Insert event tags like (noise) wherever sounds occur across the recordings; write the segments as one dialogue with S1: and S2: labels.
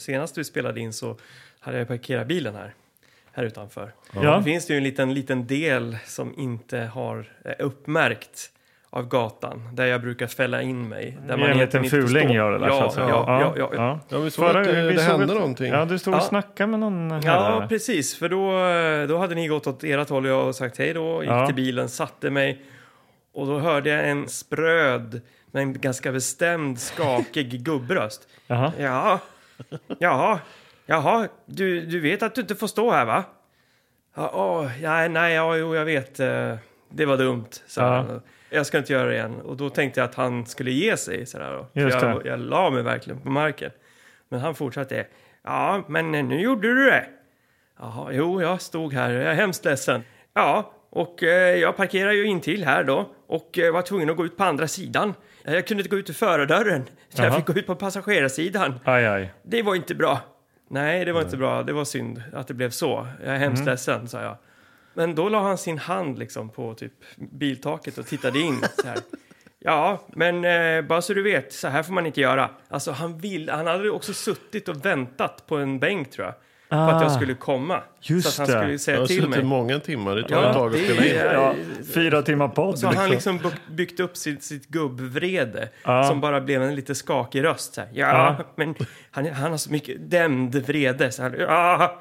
S1: Senast vi spelade in så hade jag parkerat bilen här, här utanför.
S2: Ja.
S1: Då finns det ju en liten, liten del som inte har eh, uppmärkt av gatan där jag brukar fälla in mig. Där
S2: Vi är en
S1: egentligen
S2: liten
S1: inte får
S2: fuling
S1: stå.
S2: gör det där. så
S1: Ja, ja,
S2: att säga.
S1: ja, ja, ja.
S2: ja.
S3: Ja, vi såg
S2: Förra-
S3: att eh, det,
S2: vi
S3: det
S2: såg
S3: hände
S2: ett-
S3: någonting.
S2: Ja, du stod och
S1: Ja.
S2: snackade med någon här.
S1: Ja,
S2: där.
S1: precis. För då, eh, då hade ni gått åt ert håll och jag sagt hej då, gick
S2: Ja.
S1: till bilen, satte mig och då hörde jag en spröd men ganska bestämd skakig gubbröst.
S2: Jaha.
S1: Ja, jaha, jaha, du, du vet att du inte får stå här va? Ja, åh, nej, nej, ja, jo, jag vet. eh, Det var dumt, sa
S2: Ja.
S1: han. Jag ska inte göra det igen. Och då tänkte jag att han skulle ge sig. Sådär, då. För
S2: Just
S1: jag,
S2: det.
S1: jag la mig verkligen på marken. Men han fortsatte. Ja, men nu gjorde du det. Jaha, jo, jag stod här. Jag är hemskt ledsen. Ja, och eh, jag parkerar ju in till här då och eh, var tvungen att gå ut på andra sidan. Eh, Jag kunde inte gå ut ur förardörren. Så jag
S2: Jaha.
S1: fick gå ut på passagerarsidan.
S2: Aj, aj.
S1: Det var inte bra. Nej, det var inte bra. Det var synd att det blev så. Jag är hemskt
S2: Mm.
S1: ledsen, sa jag. Men då la han sin hand liksom på typ biltaket och tittade in. Så
S2: (laughs)
S1: här. Ja, men eh, bara så du vet, så här får man inte göra. Alltså, han, vill, han hade ju också suttit och väntat på en bänk, tror jag. På att jag
S2: Ah.
S1: skulle komma.
S2: Just
S1: så att han
S2: det.
S1: skulle
S3: Jag
S1: säga
S3: har
S1: till
S3: suttit
S1: mig.
S3: många timmar, det tar
S1: Ja,
S3: ett tag att
S1: det-
S3: spela in.
S2: Ja, fyra timmar podd.
S1: Så har han
S2: liksom.
S1: liksom bu- byggt upp sitt, sitt gubbvrede
S2: Ja.
S1: som bara blev en lite skakig röst. Så här. Ja,
S2: Ja.
S1: men han, han har så mycket dämd vrede. Så här, ja.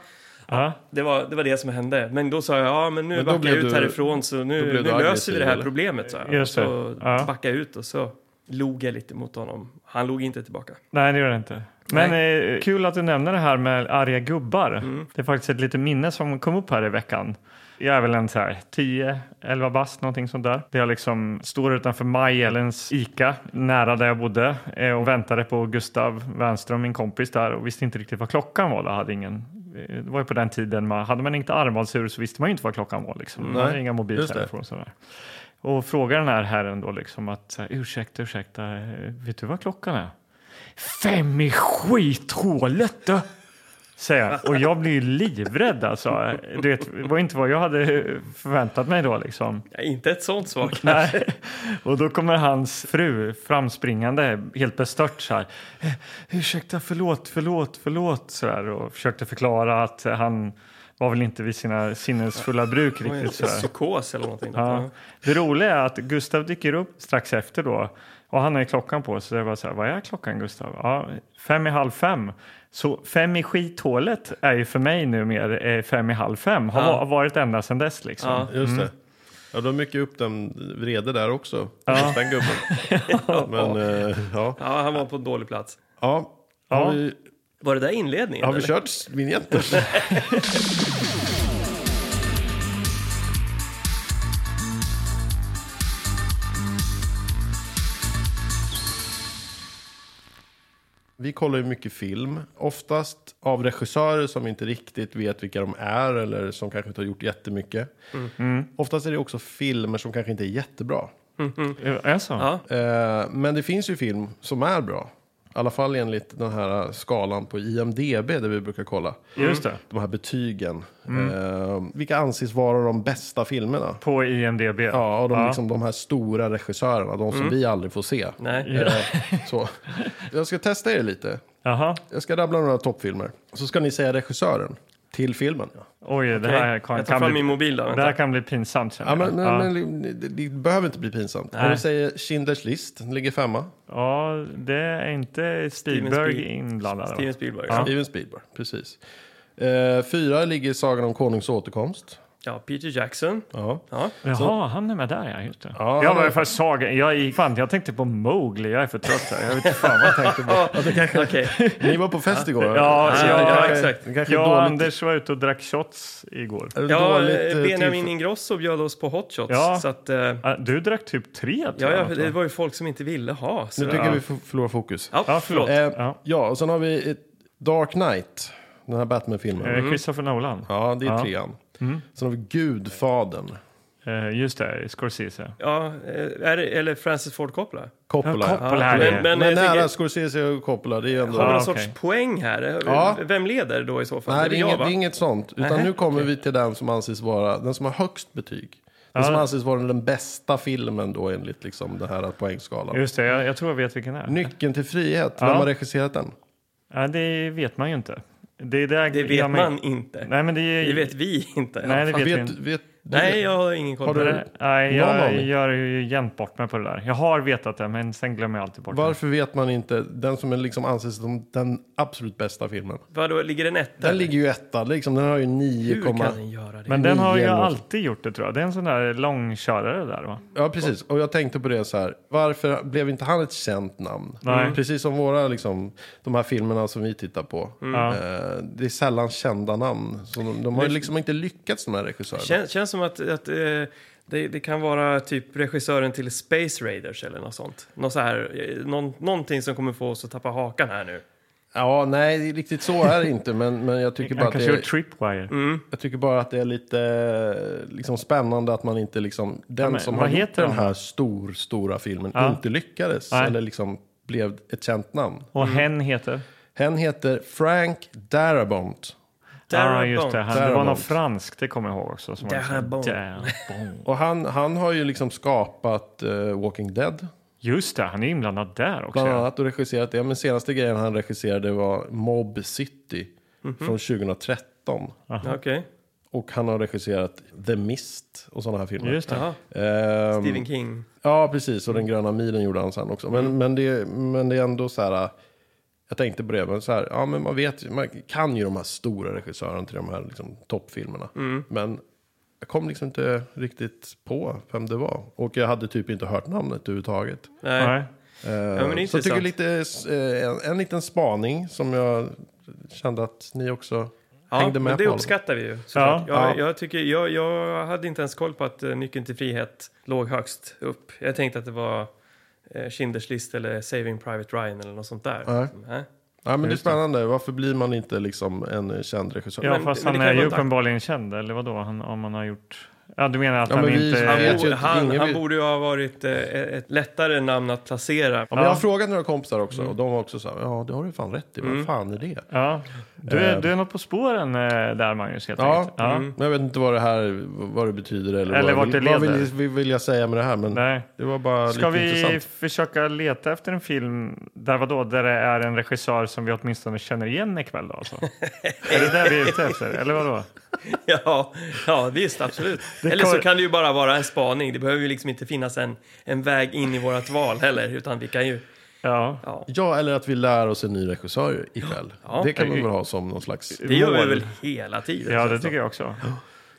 S2: Ja.
S1: Det var, det var det som hände. Men då sa jag, ja men nu
S3: Men då
S1: backar jag
S3: blev
S1: ut
S3: du-
S1: härifrån så
S3: då
S1: nu,
S3: blev
S1: nu
S3: du
S1: löser
S3: aggressiv,
S1: vi det här
S3: eller?
S1: problemet. Så, här.
S2: Just det.
S1: så
S2: Ja.
S1: backade jag ut och så log jag lite mot honom. Han log inte tillbaka.
S2: Nej, det gör det inte. Men eh, kul att du nämner det här med arga gubbar. Det är faktiskt ett litet minne som kom upp här i veckan. Jag är väl en så här 10-11 bast, någonting sånt där. Det jag liksom står utanför Majellens Ica, nära där jag bodde eh, och väntade på Gustav Wernström, min kompis där och visste inte riktigt vad klockan var. Då hade ingen eh, det var ju på den tiden man, hade man inte armbandsur så visste man ju inte vad klockan var. Liksom. Man
S3: Nej,
S2: hade inga
S3: just det.
S2: mobiltelefoner och sådär. Och frågar den här herren då liksom att så här, ursäkta, ursäkta, eh, vet du vad klockan är? Fem i skithålet då! Säger jag. Och jag blir ju livrädd alltså. Du vet, det var inte vad jag hade eh, förväntat mig då liksom.
S1: Ja, inte ett sånt svar kanske.
S2: Nej. (laughs) Och då kommer hans fru framspringande, helt bestört så här. "Eh, Ursäkta, förlåt, förlåt, förlåt. Så här, och försökte förklara att han var väl inte vid sina sinnesfulla bruk
S1: Det var en
S2: riktigt. Så här.
S1: psykos eller någonting.
S2: Ja. Det roliga är att Gustav dyker upp strax efter då och han har ju klockan på sig. Så jag bara så här, vad är klockan Gustav? Ja, fem i halv fem. Så fem i skithålet är ju för mig nu mer eh, fem i halv fem. Har
S1: Ja.
S2: va- varit ända sedan dess liksom.
S1: Ja.
S3: Just det. Ja, du har mycket uppdämd vrede där också.
S2: Ja.
S3: Hos den
S1: (laughs)
S3: gubben. Men eh, ja.
S1: ja, han var på en dålig plats.
S3: ja.
S2: Ja.
S3: Har vi,
S1: Var det där inledningen?
S3: har vi
S1: eller?
S3: kört vinjetter? Vi kollar ju mycket film, oftast av regissörer som vi inte riktigt vet vilka de är eller som kanske inte har gjort jättemycket. Oftast är det också filmer som kanske inte är jättebra.
S2: Är det så?
S1: Ja.
S3: Eh, men det finns ju film som är bra. I alla fall enligt den här skalan på IMDB där vi brukar kolla.
S1: Mm.
S2: Just det.
S3: De här betygen.
S2: Mm.
S3: Eh, vilka anses vara de bästa filmerna?
S2: På IMDB.
S3: Ja, och de,
S2: Ja. Mm.
S3: Liksom, de här stora regissörerna, de som vi aldrig får se.
S1: Nej.
S3: Eh, så. Jag ska testa er lite.
S2: Jaha.
S3: Jag ska rabbla några toppfilmer. Så ska ni säga regissören till filmen.
S2: Oj, det
S1: Okej.
S2: här kan,
S1: jag tar
S2: kan
S1: fram
S2: bli,
S1: min mobil då.
S2: det
S1: Vänta.
S2: här kan bli pinsamt. känner
S3: Ja, men,
S2: jag.
S3: men, men, det, det behöver inte bli pinsamt. Om
S2: Nej.
S3: vi säger Schindler's list, den ligger femma.
S2: ja, det är inte Stigberg
S1: Spiel-
S2: inblandad. va?
S1: Steven Spielberg.
S2: Ja.
S1: Ja.
S3: Steven Spielberg, precis. Eh, fyra ligger Sagan om konungs återkomst.
S1: ja, Peter Jackson.
S3: Ja.
S1: Ja.
S2: Jaha, han är med där ja, just det.
S3: Ja,
S2: jag
S3: han
S2: var
S3: är-
S2: ju för saga. Jag, gick- fan, jag tänkte på Mowgli, jag är för trött här. Jag vet inte fan vad jag tänkte på.
S1: Okej.
S3: Ni var på fest igår.
S2: Ja,
S1: Ja,
S2: så
S1: ja,
S2: jag,
S1: exakt.
S3: Det (laughs) kanske
S2: jag och
S3: är dåligt,
S2: Anders var ute och drack shots igår.
S3: är det
S1: Ja,
S3: dåligt,
S1: eh,
S3: eh,
S1: Benjamin
S3: tillfälle?
S1: Ingrosso bjöd oss på hot shots.
S2: Ja.
S1: Så att, eh, ja,
S2: Äh, Du drack typ tre
S1: ja,
S2: tror jag.
S1: det var ju folk som inte ville ha. Så
S3: Nu tycker jag vi f- förlorar fokus.
S1: Ja,
S2: Ja,
S1: förlåt.
S2: förlåt.
S3: Eh,
S2: Ja.
S3: ja, och sen har vi eh, Dark Knight, den här Batman-filmen.
S2: Eh, Christopher Nolan.
S3: Ja, det är
S2: Ja. Mm.
S3: trean. Sen har vi Gudfadern,
S2: Eh, Just det, Scorsese.
S1: Ja, eh, är det, eller Francis Ford Coppola.
S3: Coppola.
S2: Ja,
S3: Ja,
S2: Coppola här
S1: men-
S2: är-
S1: men-
S3: men
S1: jag
S3: nära
S1: tänker-
S3: Scorsese och Coppola, det är ju ändå...
S1: Har vi
S2: Ja,
S1: någon
S2: okej.
S1: sorts poäng här? Eh,
S3: Ja.
S1: Vem leder då i så fall?
S3: Nej,
S1: det
S3: det
S1: är
S3: är,
S1: jag,
S3: inget, det är
S1: va?
S3: inget sånt. Utan
S1: Nej,
S3: nu kommer vi till den som anses vara den som har högst betyg. Den
S2: Ja.
S3: som anses vara den bästa filmen då enligt liksom den här poängskalan.
S2: Just det, jag, jag tror jag vet vilken det är.
S3: Nyckeln till frihet,
S2: Ja.
S3: vem har regisserat den?
S2: Ja, det vet man ju inte. Det, där
S1: Det
S2: gör
S1: vet man inte.
S2: Nej, men det,
S1: Det vet vi inte.
S2: Nej, det
S3: Fan,
S2: vet vi
S3: vet,
S2: inte.
S3: vet, du-
S1: Nej, jag har ingen koll
S3: Har
S1: på
S3: du-
S1: det.
S2: Nej,
S3: Någon
S2: jag
S3: aning.
S2: gör ju jämt bort mig på det där. Jag har vetat det, men sen glömmer jag alltid bort
S3: Varför vet man inte den som är liksom anses som den absolut bästa filmen?
S1: Vadå, ligger den etta?
S3: Den ligger ju etta, liksom, den har ju
S1: Hur
S3: 9,
S1: kan den göra det?
S2: det. Men den har ju
S3: Nio eller något.
S2: alltid gjort det, tror jag. Det är en sån där långkörare där, va?
S3: Ja, precis. Och jag tänkte på det så här. Varför blev inte han ett känt namn? Mm.
S2: Nej.
S3: Precis som våra, liksom, de här filmerna som vi tittar på.
S2: Mm. Ja.
S3: Eh, det är sällan kända namn. Så de, de har ju liksom inte lyckats, de här regissörerna.
S1: Kän, känns som att, att eh, det, det kan vara typ regissören till Space Raiders eller något sånt. Någon så här, eh, någon, någonting som kommer få oss att tappa hakan här nu.
S3: Ja, nej, riktigt så är det inte. Men, men jag, tycker bara
S2: Han
S3: att det
S2: kanske gjort
S3: är,
S2: Tripwire.
S1: Mm,
S3: jag tycker bara att det är lite eh, liksom, spännande att man inte liksom... Den
S2: men
S3: som
S2: vad
S3: har gjort
S2: heter
S3: den
S2: de?
S3: här stor, stora filmen
S2: Ja.
S3: inte lyckades.
S2: Nej.
S3: Eller liksom blev ett känt namn.
S2: Och
S1: Mm.
S2: hen heter?
S3: Hen heter Frank Darabont.
S2: Ja, just det.
S1: Darabont.
S2: Han, det var
S3: Darabont.
S2: något franskt, det kommer jag ihåg också. Som var liksom-
S1: Darabont.
S2: Darabont.
S3: Och han, han har ju liksom skapat eh, Walking Dead.
S2: Just det, han är inblandad där också.
S3: Bland
S2: ja.
S3: annat och regisserat det. Men senaste grejen han regisserade var Mob City
S1: Mhm.
S3: från 2013.
S1: Okej.
S3: Och han har regisserat The Mist och sådana här filmer.
S2: Just det.
S1: Jaha,
S3: Ehm,
S1: Stephen King. Mm.
S3: Ja, precis. Och Den gröna milen gjorde han sen också. Men, men, det, men det är ändå så här... Jag tänkte på det, men så här, ja men man vet ju- man kan ju de här stora regissörerna till de här liksom, toppfilmerna.
S1: Mm,
S3: Men jag kom liksom inte riktigt på vem det var. Och jag hade typ inte hört namnet överhuvudtaget.
S1: Nej.
S2: Nej.
S3: Eh,
S1: men det är
S3: så jag tycker
S1: intressant.
S3: lite, eh, en, en liten spaning som jag kände att ni också hängde med
S1: men det
S3: på.
S1: uppskattar vi ju.
S2: Ja,
S1: Ja, jag,
S3: ja.
S1: jag, tycker, jag, jag hade inte ens koll på att eh, Nyckeln till frihet låg högst upp. Jag tänkte att det var eh, Schindler's list eller Saving Private Ryan eller något sånt där. Liksom, eh.
S3: Nej. Eh,
S1: Nej.
S3: ja, men det är
S2: Just det.
S3: spännande, varför blir man inte liksom en eh, känd regissör?
S2: Ja,
S1: Men-
S2: fast
S1: men det
S2: han
S1: kan
S2: är ju
S1: vara ett-
S2: uppenbarligen känd, eller vadå? Han, om han har gjort... Ja, du menar att
S3: Ja,
S2: han
S3: men vi-
S2: inte...
S3: Jag
S1: Han,
S3: vet ju
S1: borde,
S3: inte,
S1: han,
S3: ingen
S1: han
S3: vill-
S1: borde ju ha varit eh, ett lättare namn att placera.
S3: Ja, men jag har
S2: Ja. Mm.
S3: frågat några kompisar också och de var också så här, ja det har du fan rätt i, vad fan är det?
S2: Ja, du är, du är något på spåren eh, där Magnus helt
S3: Ja. mm.
S2: enkelt. Ja.
S3: Men jag vet inte vad det här vad det betyder eller,
S2: Eller
S3: vad,
S2: vart
S3: jag
S2: det
S3: vill- vad
S2: leder.
S3: vill, vill, vill jag säga med det här. Men
S2: Nej.
S3: det var bara
S2: Ska
S3: lite
S2: vi
S3: intressant.
S2: försöka leta efter en film där, vadå, där det är en regissör som vi åtminstone känner igen ikväll då?
S3: (laughs)
S2: Alltså? är det där vi är ute efter? Eller vadå?
S1: (laughs) Ja, ja visst, absolut.
S2: Det
S1: Eller så
S2: kommer-
S1: kan det ju bara vara en spaning. Det behöver ju liksom inte finnas en, en väg in i vårt val heller, utan vi kan ju...
S2: Ja.
S1: Ja.
S3: Ja, eller att vi lär oss en ny regissör ikväll.
S1: Ja. Mm.
S3: det kan man väl ha som någon slags...
S1: Det gör vi
S2: Mål.
S1: väl hela tiden.
S2: ja,
S1: känns
S2: det
S1: som.
S2: tycker jag också.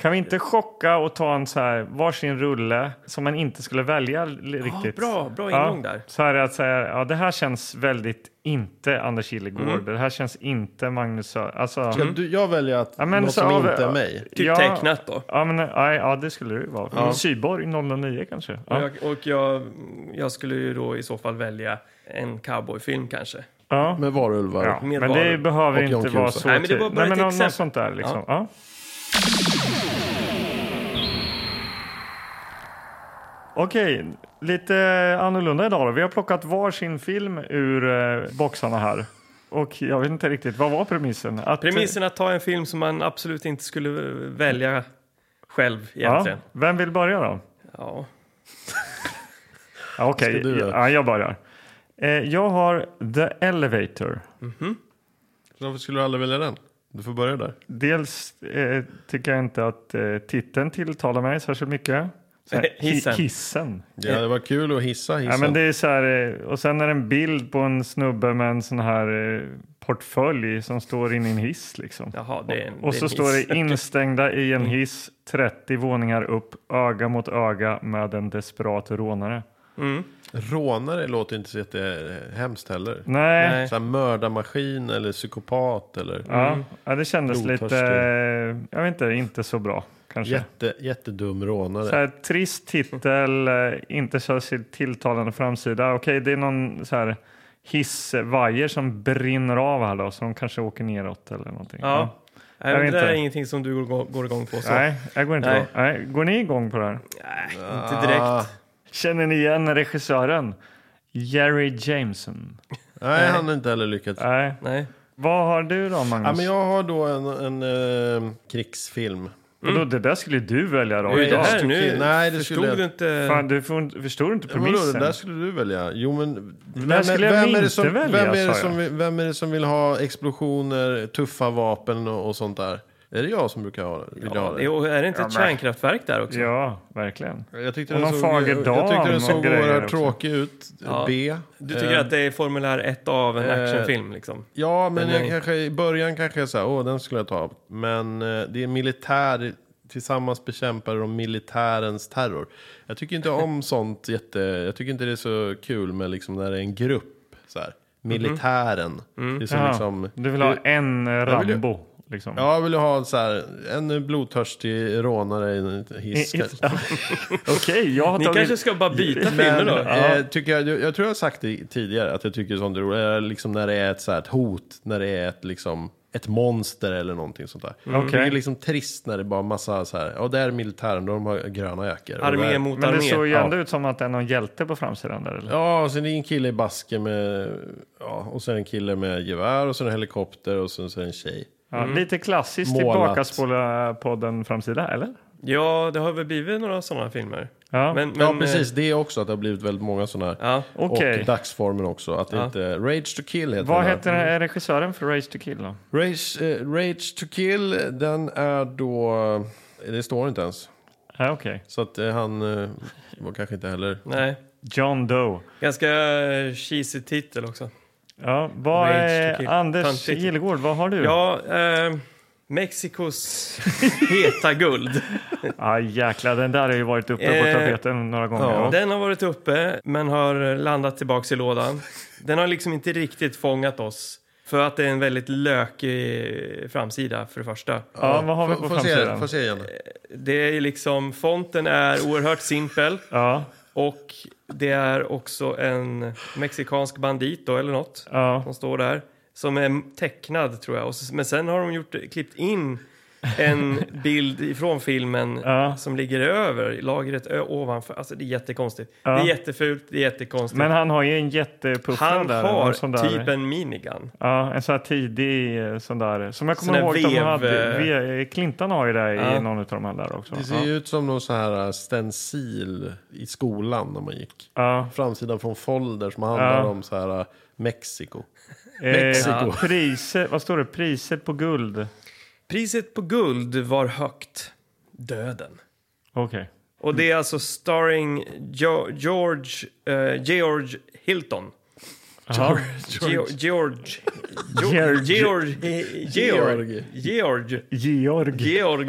S2: Kan vi inte chocka och ta en så här varsin rulle som man inte skulle välja li- riktigt?
S1: bra, bra
S2: Ja,
S1: ingång där.
S2: Så här är att säga, ja, det här känns väldigt inte Anders Kilegård. Det här känns inte Magnus Sö- alltså,
S3: Ska du, jag väljer att
S2: Ja, men
S3: något
S2: så
S3: som
S2: av-
S3: inte är mig.
S1: Typ
S2: Ja.
S1: tecknat då.
S2: Ja, men, ja, ja, det skulle det ju vara. Syborg 009 kanske.
S1: Och,
S2: Ja.
S1: jag, och jag, jag skulle ju då i så fall välja en cowboyfilm kanske.
S2: Ja.
S3: Med varulvar.
S2: Ja.
S1: Med
S2: Men det
S1: varor.
S2: behöver
S3: Och John
S2: inte vara
S3: Cusack.
S2: så.
S1: Nej, men det
S2: ty-
S1: var bara ett
S2: nå-
S1: exempel.
S2: Något sånt där liksom. Ja. Okej, lite annorlunda idag då. Vi har plockat varsin film ur eh, boxarna här. Och jag vet inte riktigt, vad var premissen? Att,
S1: Premissen att ta en film som man absolut inte skulle välja själv
S2: ja,
S1: egentligen.
S2: Vem vill börja då?
S1: Ja.
S2: Ja, Okej,
S3: Ska du göra?
S2: ja, jag börjar. Eh, jag har The Elevator.
S1: Mhm.
S3: Varför skulle du aldrig välja den? Du får börja där.
S2: Dels eh, tycker jag inte att eh, titeln tilltalar mig särskilt mycket. Så här, hi-
S1: (laughs) Hissen.
S2: hissen.
S3: Ja, det var kul att hissa hissen.
S2: Ja, men det är så här, eh, och sen är det en bild på en snubbe med en sån här eh, portfölj som står in i en hiss. Liksom.
S1: Jaha, det är en,
S2: och
S1: det är
S2: så
S1: en Mm.
S2: står
S1: miss.
S2: det
S1: (laughs)
S2: instängda i en hiss 30 våningar upp, öga mot öga med en desperat rånare.
S1: Mm.
S3: Rånare låter inte så jättehemskt heller.
S2: Nej,
S1: Nej.
S3: Så här mördarmaskin eller psykopat eller
S2: Ja,
S1: Mm.
S2: ja, det kändes
S3: Blodtörstig.
S2: lite, eh, jag vet inte, inte så bra kanske.
S3: jätte, jättedum rånare.
S2: Så här, trist titel, eh, inte särskilt tilltalande framsida. Okej, det är någon så här hissvajer som brinner av här då, så de kanske åker neråt eller någonting.
S1: Ja. Nej,
S2: Mm. Jag
S1: men
S2: vet
S1: det där
S2: inte.
S1: är ingenting som du går, går igång på. Så.
S2: Nej, jag går inte
S1: Nej.
S2: på. Nej, går ni igång på det här?
S1: Nej,
S3: Ah.
S1: inte direkt.
S2: Känner ni igen regissören? Jerry Jameson.
S3: Nej, han har inte heller lyckats.
S2: Nej.
S1: Nej.
S2: Vad har du då, Magnus?
S3: Ja, men jag har då en, en eh, krigsfilm
S2: Och då, det där skulle du välja då
S1: Hur är det
S2: idag.
S1: här
S3: tycker-
S1: nu?
S3: nej, det
S1: Förstod
S3: skulle jag-
S1: du inte?
S2: Fan, du får, förstår inte
S3: Ja, Vadå, det
S2: premissen.
S3: där skulle du välja? Jo, men... Vem,
S2: skulle jag
S3: är det
S2: inte
S3: som,
S2: välja,
S3: vem, är
S2: sa
S3: det som,
S2: jag.
S3: vill- vem är det som vill ha explosioner, tuffa vapen och, och sånt där? Är det jag som brukar ha det? Vill jag ha
S1: Ja,
S3: det?
S1: det- och är det inte
S2: Ja,
S1: ett
S2: men-
S1: kärnkraftverk där också?
S2: Ja, verkligen.
S3: Jag tyckte
S2: Och
S3: den
S2: någon
S3: såg,
S2: fager
S3: jag,
S2: dam
S3: jag tyckte den
S2: och
S3: såg
S2: grejer
S3: oerhört
S2: också.
S3: tråkig ut.
S1: Ja.
S3: B.
S1: Du tycker
S3: Eh,
S1: att det är formulär 1 av en
S3: eh,
S1: actionfilm liksom?
S3: Ja, men
S1: den
S3: jag
S1: är-
S3: kanske, i början kanske jag sa, åh, den skulle jag ta. Men eh, det är militär, tillsammans bekämpar de militärens terror. Jag tycker
S2: (laughs)
S3: inte om sånt jätte, jag tycker inte det är så kul med liksom när det är en grupp. Så här. Militären. Det är
S2: Mm-hmm. Mm. Ja,
S3: som liksom,
S2: du vill ha en eh,
S3: vill ju-
S2: Rambo, liksom.
S3: Ja, jag vill ju ha så här, en blodtörstig rånare i en hiss.
S2: I- i-
S3: kanske.
S2: (laughs) Okej, jag har
S1: Ni
S2: tagit...
S1: kanske ska bara byta filmer
S3: Men,
S1: då?
S3: eh, tycker jag, jag tror jag har sagt det tidigare, att jag tycker sånt är roligt. Eller Liksom när det är ett, så här, ett hot, när det är ett, liksom, ett monster eller någonting sånt där.
S1: Mm.
S2: Okej.
S3: Det är liksom trist när det bara är massa så här, ja där är militären, de har gröna jackor. Och
S1: Armé
S3: där-
S1: mot
S2: Men det såg
S1: armé.
S2: ju ändå ut som att det är någon hjälte på framsidan där. Eller?
S3: Ja, och sen är det en kille i basker med, ja, och sen en kille med gevär och sen en helikopter och sen så är det en tjej.
S2: Ja, Lite klassiskt
S3: Målat.
S2: tillbaka spola podden framsida, eller?
S1: Ja, det har väl blivit några sådana filmer.
S2: Ja,
S1: Men, men,
S3: ja,
S1: eh,
S3: precis. Det är också att det har blivit väldigt många sådana här.
S1: Ja.
S2: okej.
S3: Och dagsformen också. Att det
S1: Ja.
S3: inte, Rage to kill heter
S2: Vad
S3: den här.
S2: heter den här regissören för Race to kill då?
S3: Rage, eh, Rage to kill, den är då... eh, Det står inte ens.
S2: Ja, okej.
S3: Så att eh, han eh, var kanske inte heller...
S1: Nej.
S2: John Doe.
S1: Ganska eh, cheesy titel också.
S2: Ja, vad
S1: Rage to
S2: är,
S1: Kill.
S2: Anders
S1: Tantigt.
S2: Gillegård, vad har du?
S1: Ja, eh, Mexikos heta guld.
S2: Ah, jäklar, den där har ju varit uppe
S1: Eh,
S2: på tapeten några gånger.
S3: ja.
S2: Ja.
S1: Den har varit uppe, men har landat tillbaks i lådan. Den har liksom inte riktigt fångat oss. För att det är en väldigt lökig framsida, för det första.
S2: Ja, vad har vi
S3: Få-
S2: på
S3: få se-
S2: framsidan?
S3: Få se igen.
S1: Det är liksom, fonten är oerhört simpel.
S2: Ja,
S1: Och det är också en mexikansk bandit då, eller något.
S2: ja.
S1: som står där. Som är tecknad tror jag. Och så, men sen har de gjort, klippt in
S2: (laughs)
S1: en bild ifrån filmen
S2: Ja.
S1: som ligger över lagret ö- ovanför. Alltså det är jättekonstigt.
S2: Ja.
S1: Det är jättefult, det är jättekonstigt.
S2: Men han har ju en jättepuffra
S1: han
S2: där.
S1: har
S2: en sån där,
S1: typ en minigun.
S2: Ja, en sån här tidig eh, sån där. Som jag
S1: Sån
S2: kommer
S1: där
S2: ihåg att de
S1: vev,
S2: hade.
S1: eh.
S2: ve- Clintan har ju det
S1: Ja.
S2: i någon av de här där också.
S3: Det ser ju ut som någon så här eh, stencil i skolan när man gick.
S2: Ja.
S3: Framsidan från folder som handlar
S2: Ja.
S3: om så här eh, Mexiko.
S2: Ja.
S3: Mexiko.
S2: Eh, priser, vad står det? Priset på guld.
S1: Priset på guld var högt. Döden.
S2: Okej.
S1: Och det är alltså starring jo- George, eh, George Hilton.
S2: Jaha.
S1: George.
S2: (laughs)
S1: George. George.
S2: Georg.
S1: George. eh, George. George.
S2: Georg.
S1: Georg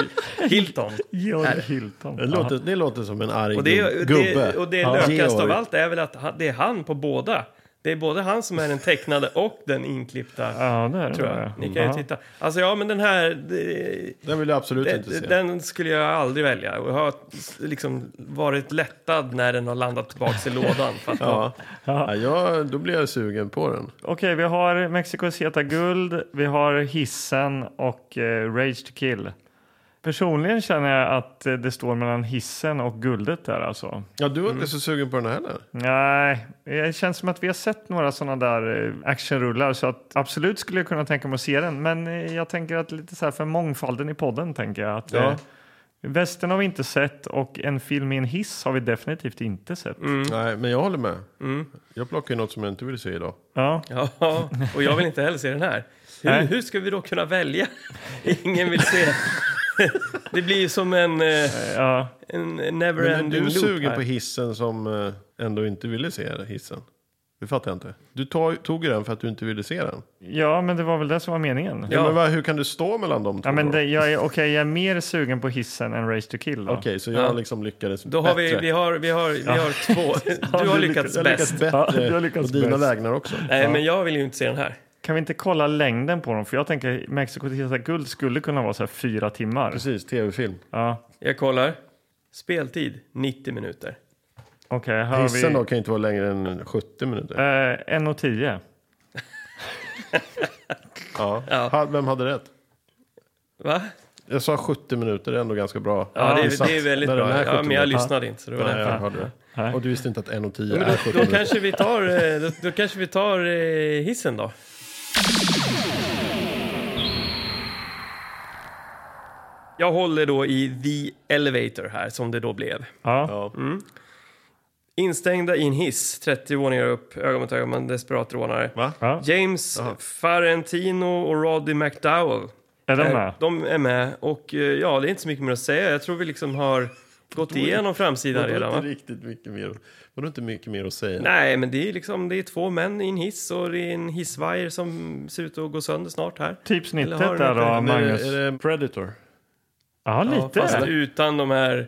S1: Hilton.
S2: Georg Hilton.
S3: (laughs) Det låter, det låter som en arg
S1: Och det,
S3: gub-
S1: är-
S3: gubbe.
S1: det, och det
S3: Ja.
S1: lökigaste av
S3: Georg.
S1: allt är väl att han, det är han på båda. Det är både han som är den tecknade och den inklippta.
S2: Ja, det är det.
S1: tror jag. Ni kan ju
S2: Jaha.
S1: titta. Alltså ja, men den här... det-
S3: Den vill jag absolut inte se.
S1: Den, den skulle jag aldrig välja. Och jag har liksom varit lättad när den har landat tillbaka i lådan. För att
S3: Ja. Ja, jag, då blir jag sugen på den.
S2: Okej, vi har Mexikos heta guld, vi har hissen och eh, Rage to kill. Personligen känner jag att eh, det står mellan hissen och guldet där alltså.
S3: Ja, du var
S1: Mm.
S3: inte så sugen på den heller.
S2: Nej, det känns som att vi har sett några sådana där eh, actionrullar så att absolut skulle jag kunna tänka mig att se den. Men eh, jag tänker att lite så här för mångfalden i podden tänker jag att
S3: Ja.
S2: eh, västern har vi inte sett och en film i en hiss har vi definitivt inte sett.
S1: Mm.
S3: Nej, men jag håller med. Jag plockar ju något som jag inte vill se idag.
S2: Ja.
S1: Ja, och jag vill inte heller se den här. Hur,
S2: Nej.
S1: hur ska vi då kunna välja? (laughs) Ingen vill se.
S3: (laughs)
S1: Det blir ju som en, eh,
S2: ja.
S1: en
S3: Men är
S1: never-ending
S3: du
S1: loop.
S3: sugen
S1: här.
S3: på hissen som eh, ändå inte ville se det, hissen? Det fattar jag inte. Du tog, tog ju den för att du inte ville se den.
S2: ja, men det var väl det som var meningen.
S1: Ja.
S3: Ja. Men vad, hur kan du stå mellan de två?
S2: Ja, men
S3: då?
S2: det, jag, är, okej, jag är mer sugen på hissen än Race to kill. Då.
S3: Okej, så jag
S1: Ja.
S3: liksom lyckades
S1: Då har vi,
S3: bättre.
S1: vi har, vi har, vi har två. Du har
S2: du
S1: lyckats
S3: jag har lyckats
S1: bäst.
S2: Ja,
S3: bättre
S2: du har lyckats
S3: på dina
S2: bäst.
S3: vägnar också.
S1: Nej, men jag vill ju inte se den här.
S2: Kan vi inte kolla längden på dem? För jag tänker Mexiko till heta guld skulle kunna vara så här fyra timmar.
S3: Precis, tv-film.
S2: Ja,
S1: Jag kollar. Speltid 90 minuter.
S2: okej, här har vi...
S3: Hissen då kan ju inte vara längre än 70 minuter.
S2: Eh, en och tio.
S3: Ja.
S1: Ja.
S3: Ha- Vem hade rätt?
S1: Va?
S3: Jag sa 70 minuter, det är ändå ganska bra.
S1: Ja, det, är-
S3: Satt
S1: det är väldigt
S3: där den
S1: bra.
S3: är
S1: Ja,
S3: 70
S1: men jag
S3: minuter.
S1: lyssnade inte. Så det var
S3: Nej,
S1: därför.
S3: jag hörde det.
S2: Nej.
S3: Och du visste inte att 1 och 10
S1: Men
S3: är 70
S1: då, då,
S3: minuter.
S1: kanske vi tar, eh, då, då kanske vi tar eh, hissen då. Jag håller då i The Elevator här, som det då blev.
S2: Ja.
S3: Ja.
S1: Instängda i en hiss, 30 våningar upp, öga mot öga med en desperat rånare.
S3: Va?
S2: ja.
S1: James
S3: Jaha.
S1: Farentino och Roddy McDowell.
S2: Är den
S1: Eh,
S2: med?
S1: De är med och eh, ja, det är inte så mycket mer att säga. Jag tror vi liksom har gått igenom framsidan
S3: Vadå,
S1: redan.
S3: inte
S1: Va?
S3: riktigt mycket mer, vadå inte mycket mer att säga?
S1: Nej, men det är liksom det är två män i en hiss och det är en hissvajer som ser ut att gå sönder snart här.
S2: Typ
S1: Eller
S2: snittet
S1: har den
S2: där
S1: inte-
S2: då,
S3: Men är, det,
S2: Magnus?
S3: är det Predator?
S2: Ja,
S1: Ja,
S2: lite.
S1: fast utan de här s-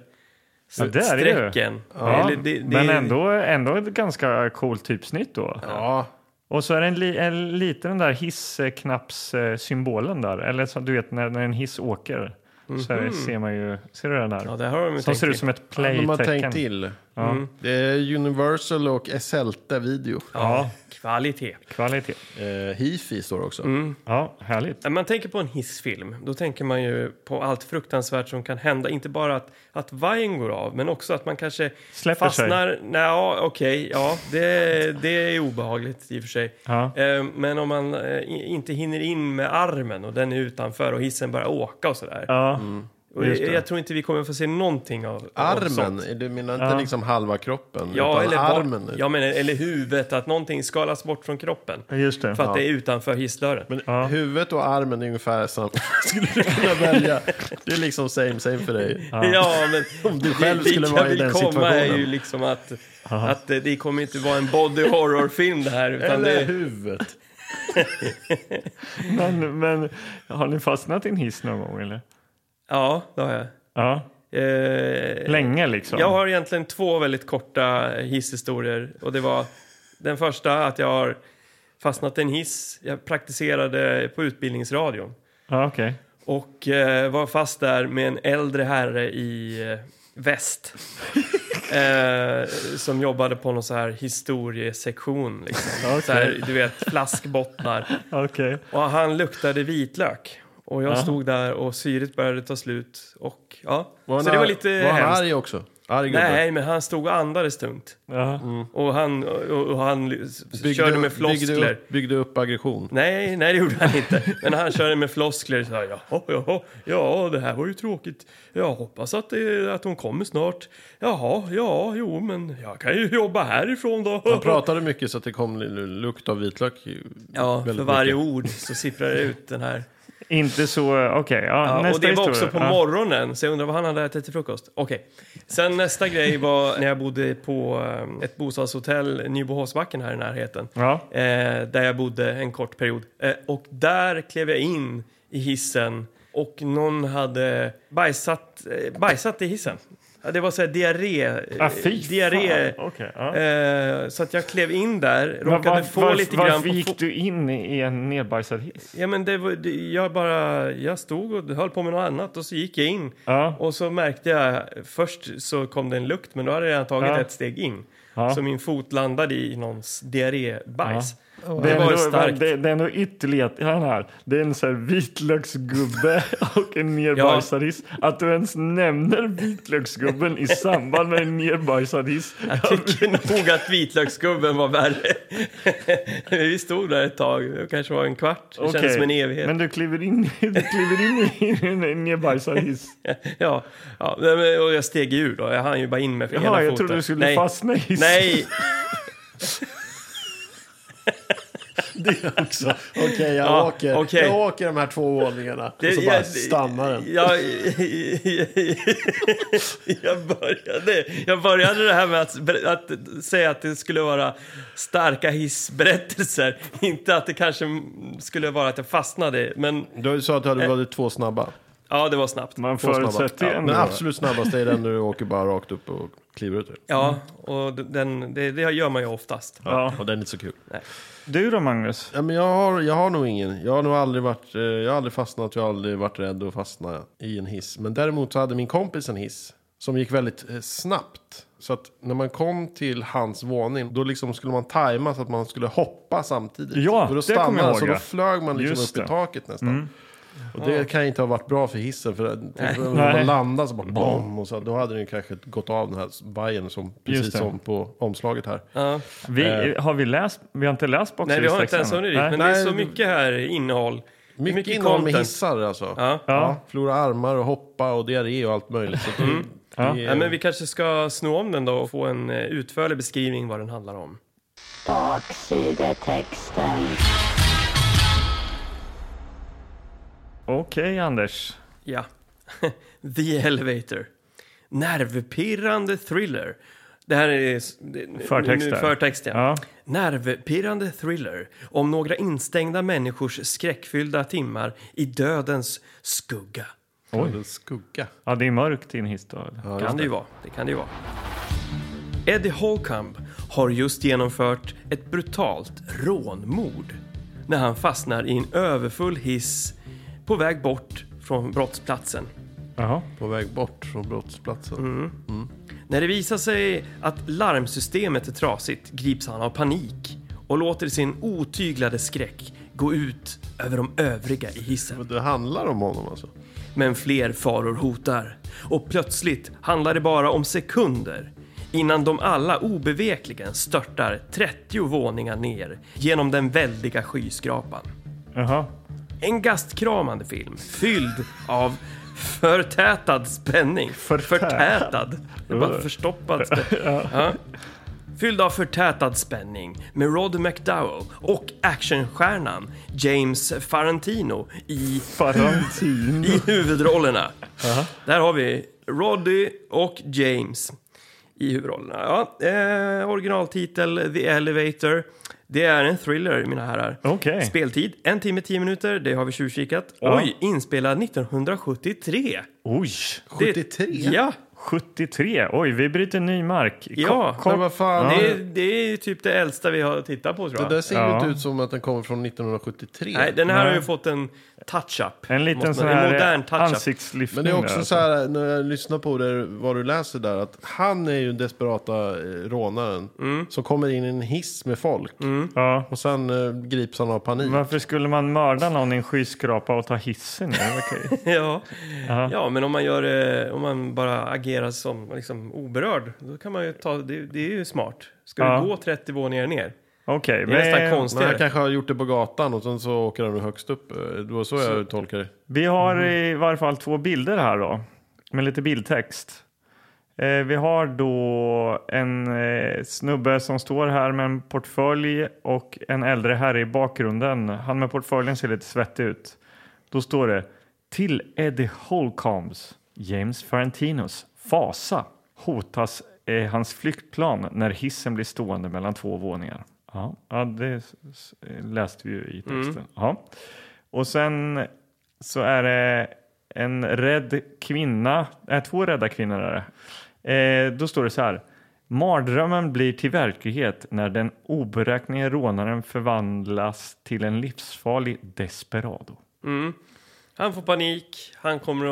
S2: Ja, där är det ju.
S1: strecken.
S2: Ja,
S1: Eller det- det-
S2: men ändå, ändå ett ganska coolt typsnitt då.
S3: Ja.
S2: Och så är det en, li, en lite den där hissknappssymbolen där. Eller så, du vet när, när en hiss åker. Så här ser man ju, ser du den där?
S1: Mhm. Ja, där har de ju
S2: som
S1: tänkt
S2: ser ut
S1: till.
S2: som ett
S3: Ja, men man har
S2: play-tecken.
S3: tänkt till.
S2: Ja.
S1: Mm.
S3: Det är Universal och Esselte video.
S1: Ja, kvalitet.
S2: Kvalitet.
S3: Eh, Hifi står det också.
S1: Mm.
S2: Ja, härligt.
S1: När man tänker på en hissfilm, då tänker man ju på allt fruktansvärt som kan hända. Inte bara att, att vajern går av, men också att man kanske
S2: Släpper sig.
S1: fastnar. Nej, ja, okej, ja, det, det är obehagligt i och för sig.
S2: Ja.
S1: Eh, Men om man eh, i- inte hinner in med armen och den är utanför och hissen börjar åka och sådär.
S2: Ja.
S1: och
S2: just
S1: jag,
S2: det.
S1: jag tror inte vi kommer få se någonting av av
S3: Armen,
S1: sånt.
S3: är du menar inte
S2: Ja.
S3: liksom halva kroppen?
S1: Ja,
S3: utan
S1: eller,
S3: armen.
S1: armen. Ja, men, eller huvudet, att någonting skalas bort från kroppen.
S2: Just det.
S1: För att det är utanför hissdörren.
S3: Men
S2: Ja.
S3: huvudet och armen är ungefär samma. (laughs) Skulle du kunna välja? Det är liksom same same för dig.
S1: (laughs) Ja,
S2: (laughs)
S1: men
S3: Om du själv
S1: dit
S3: skulle
S1: jag
S3: vara i
S1: vill
S3: den
S1: komma är ju
S3: situationen.
S1: liksom att, att eh, det kommer inte vara en body horror-film det här. Utan
S3: Eller
S1: det,
S3: huvudet.
S2: Men, men har ni fastnat i en hiss någon gång eller?
S1: ja, det har jag.
S2: Ja.
S1: Eh,
S2: Länge liksom?
S1: Jag har egentligen två väldigt korta hisshistorier. Och det var den första att jag har fastnat i en hiss. Jag praktiserade på utbildningsradion.
S2: Ja, okej.
S1: Och eh, var fast där med en äldre herre i eh,
S3: (laughs)
S1: väst. eh, som jobbade på någon så här historiesektion. Liksom. Så här, du vet, flaskbottnar.
S2: Okej.
S1: Och han luktade vitlök. Och jag
S2: Ja.
S1: stod där och syret började ta slut. Och, ja.
S3: Var
S1: Så
S3: han-
S1: det var lite
S3: Var han
S1: hemskt.
S3: arg också? Arg gubbe?
S1: Nej, men han stod och andades tungt.
S2: Ja.
S1: Och han, och, och han s-
S3: Mm. Byggde-
S1: körde med
S3: Byggde
S1: floskler.
S3: upp, byggde upp aggression?
S1: Nej, nej det gjorde han inte. Men han körde med floskler så här, jaha, jaha, ja det här var ju tråkigt. Jag hoppas att, det, att hon kommer snart. Jaha, ja, jo men jag kan ju jobba härifrån då.
S3: Han pratade mycket så att det kom lukt av vitlök.
S1: (laughs)
S3: (laughs)
S1: Ja, för
S3: väldigt
S1: varje
S3: mycket.
S1: ord så sipprar det ut den här.
S2: Inte så... Okej, ja,
S1: Ja,
S2: nästa
S1: och det var
S2: historia.
S1: också på
S2: ja.
S1: morgonen, så jag undrar vad han hade ätit till frukost. Okej. Sen nästa grej var (laughs) när jag bodde på eh, ett bostadshotell, Nybohovsbacken här i närheten.
S2: Ja.
S1: eh, där jag bodde en kort period. Eh, och där klev jag in i hissen och någon hade bajsat, eh, bajsat i hissen. Ja, Det var så här diarré. eh,
S2: Ah, fy
S1: diarré.
S2: fan. Okej, ja.
S1: Eh, så att jag klev in där,
S2: Men
S1: råkade
S2: varf-
S1: få
S2: varf-
S1: lite
S2: varför
S1: grann på
S2: gick
S1: fo-
S2: du in i en nedbajsad hiss?
S1: Ja men det var, det, jag bara, jag stod och höll på med något annat och så gick jag in.
S2: Ja.
S1: Och så märkte jag, först så kom det en lukt men då hade jag redan tagit
S2: Ja.
S1: ett steg in.
S2: Ja.
S1: Så min fot landade i någons diarrébajs.
S2: Det
S1: Det
S2: är,
S1: var ju
S2: ändå,
S1: starkt.
S2: det, det är ändå ytterligheterna här. Det är en så här vitlöksgubbe (laughs) och en nerbajsad hiss. Att du ens nämner vitlöksgubben i samband med en nerbajsad hiss.
S1: (laughs) Jag tycker nog att vitlöksgubben var värre. (laughs) Vi stod där ett tag, det kanske var en kvart. Det kändes
S2: Okej,
S1: som en evighet.
S2: Men du kliver in, du kliver in i en- en nerbajsad
S1: (laughs)
S2: hiss.
S1: (laughs) Ja, ja, nej, men- och jag steg ur då. Jag hann ju bara in med ena
S2: Jaha, jag
S1: foten.
S2: trodde du skulle
S1: Nej.
S2: fastna i hissen.
S1: Nej,
S3: Det också. Okej, jag,
S1: Ja,
S3: åker.
S1: okej.
S3: jag åker de här två våningarna. och så bara stannar den.
S1: Jag, jag, började, jag började det här med att, att säga att det skulle vara starka hissberättelser. Inte att det kanske skulle vara att jag fastnade. Men
S3: Du sa att du hade varit två snabba.
S1: ja, det var snabbt.
S2: Man
S3: Två snabba.
S2: förutsätter ju
S3: Ja,
S2: ändå.
S3: den absolut snabbaste är den när du åker bara rakt upp och kliver ut.
S1: Ja, och den, det, det gör man ju oftast.
S2: Ja.
S3: Och den är inte så kul.
S2: Du då Magnus?
S3: Ja, men jag, har, jag har nog ingen. Jag har nog aldrig varit, eh, jag har aldrig fastnat, jag har aldrig varit rädd att fastna i en hiss. Men däremot så hade min kompis en hiss som gick väldigt eh, snabbt. Så att när man kom till hans våning, då liksom skulle man tajma så att man skulle hoppa samtidigt.
S2: Ja,
S3: och då
S2: det kommer jag
S3: stannade han,
S2: ihåg,
S3: så då
S2: ja.
S3: flög man liksom
S2: Just
S3: upp i
S2: det. Mm.
S3: taket nästan. Och det kan inte ha varit bra för hissen. För tänk om
S2: Nej.
S3: man landade så bara bom, och så, då hade den ju kanske gått av den här vajern som, precis
S2: det.
S3: som på omslaget här.
S1: Ja.
S2: Vi, har vi läst? Vi har inte läst
S1: Eh. Nej, vi har inte ens
S2: boxeristexten?
S1: hunnit dit,
S2: Nej.
S1: men det är
S3: Nej,
S1: så
S3: det-
S1: mycket här innehåll.
S3: Mycket,
S1: mycket
S3: innehåll med
S1: content.
S3: hissar alltså.
S1: Ja.
S2: Ja.
S3: Förlora armar och hoppa och diarré och allt möjligt. Så det,
S2: Ja.
S3: det är-
S1: Mm. Ja, men vi kanske ska sno om den då och få en eh, utförlig beskrivning vad den handlar om.
S4: Baksidetexten.
S2: Okej, Anders.
S1: Ja. (laughs) The Elevator. Nervpirrande thriller. Det här är... s- det- nu-
S2: Förtext
S1: nu-
S2: där.
S1: Förtext, ja.
S2: Ja.
S1: Nervpirrande thriller om några instängda människors skräckfyllda timmar i dödens skugga.
S2: Oj.
S3: En skugga.
S2: ja, det är mörkt i en hiss då. eller?
S1: kan det ju vara. Det kan det ju vara. Eddie Holcomb har just genomfört ett brutalt rånmord när han fastnar i en överfull hiss på väg bort från brottsplatsen.
S2: Jaha.
S3: På väg bort från brottsplatsen.
S1: Mm. När det visar sig att larmsystemet är trasigt grips han av panik och låter sin otyglade skräck gå ut över de övriga i hissen.
S3: Men Det handlar om honom alltså.
S1: Men fler faror hotar. Och plötsligt handlar det bara om sekunder innan de alla obevekligen störtar 30 våningar ner genom den väldiga skyskrapan.
S2: Jaha.
S1: En gastkramande film fylld av förtätad spänning. Förtätad. Det är bara förstoppad spänning. (laughs) Ja. Fylld av förtätad spänning med Rod McDowell och actionstjärnan James Farantino i
S2: Farantin.
S1: i huvudrollerna. Där har vi Roddy och James i huvudrollerna. Ja, eh, originaltitel The Elevator. Det är en thriller, mina herrar.
S2: Okej.
S1: Speltid, en timme, tio minuter. Det har vi tjuvkikat.
S2: Ja.
S1: Oj, inspelad 1973.
S2: Oj!
S1: Det-
S3: 73?
S1: Ja,
S2: 73. Oj, vi bryter ny mark. Ko-
S1: Ja,
S2: ko-
S3: Men vad fan.
S1: det, är-
S3: Det,
S1: det är typ det äldsta vi har tittat på, tror jag.
S3: det där ser
S2: Ja.
S3: inte ut som att den kommer från 1973.
S1: Nej, den här har ju
S2: Nej.
S1: fått en touch-up.
S2: En
S1: Måste man-
S2: liten sån
S1: en
S2: här
S1: modern touch-up.
S2: ansiktslyftning.
S3: Men det är
S2: där,
S3: också
S2: alltså.
S3: så här, när jag lyssnar på det, vad du läser där, att han är ju den desperata eh, rånaren
S1: Mm.
S3: som kommer in i en hiss med folk.
S2: Ja.
S3: Och sen eh, grips han av panik.
S2: Varför skulle man mörda någon i en skyskrapa och ta hissen? ner?
S1: (laughs)
S2: Okej.
S1: Ja. ja, men om man, gör, det- om man bara agerar som liksom, oberörd, då kan man ju ta, det, det är ju smart. Ska
S2: Ja.
S1: du gå 30 våningar ner?
S2: Okej,
S1: Det är nästan
S2: men
S3: Men han
S1: konstigare.
S3: kanske har gjort det på gatan och sen så åker han högst upp. Eh, Det var så, jag tolkar det.
S2: vi har i varje fall två bilder här då. Med lite bildtext. Eh, vi har då en eh, snubbe som står här med en portfölj och en äldre herre i bakgrunden. Han med portföljen ser lite svettig ut. Då står det till Eddie Holcombs, James Farantinos fasa hotas eh, hans flyktplan när hissen blir stående mellan två våningar. Ja, ja det s- s- läste vi ju i texten. Ja. Och sen så är det en rädd kvinna, äh, två rädda kvinnor är det. Eh, då står det så här. Mardrömmen blir till verklighet när den oberäknelige rånaren förvandlas till en livsfarlig desperado.
S1: Han får panik, han kommer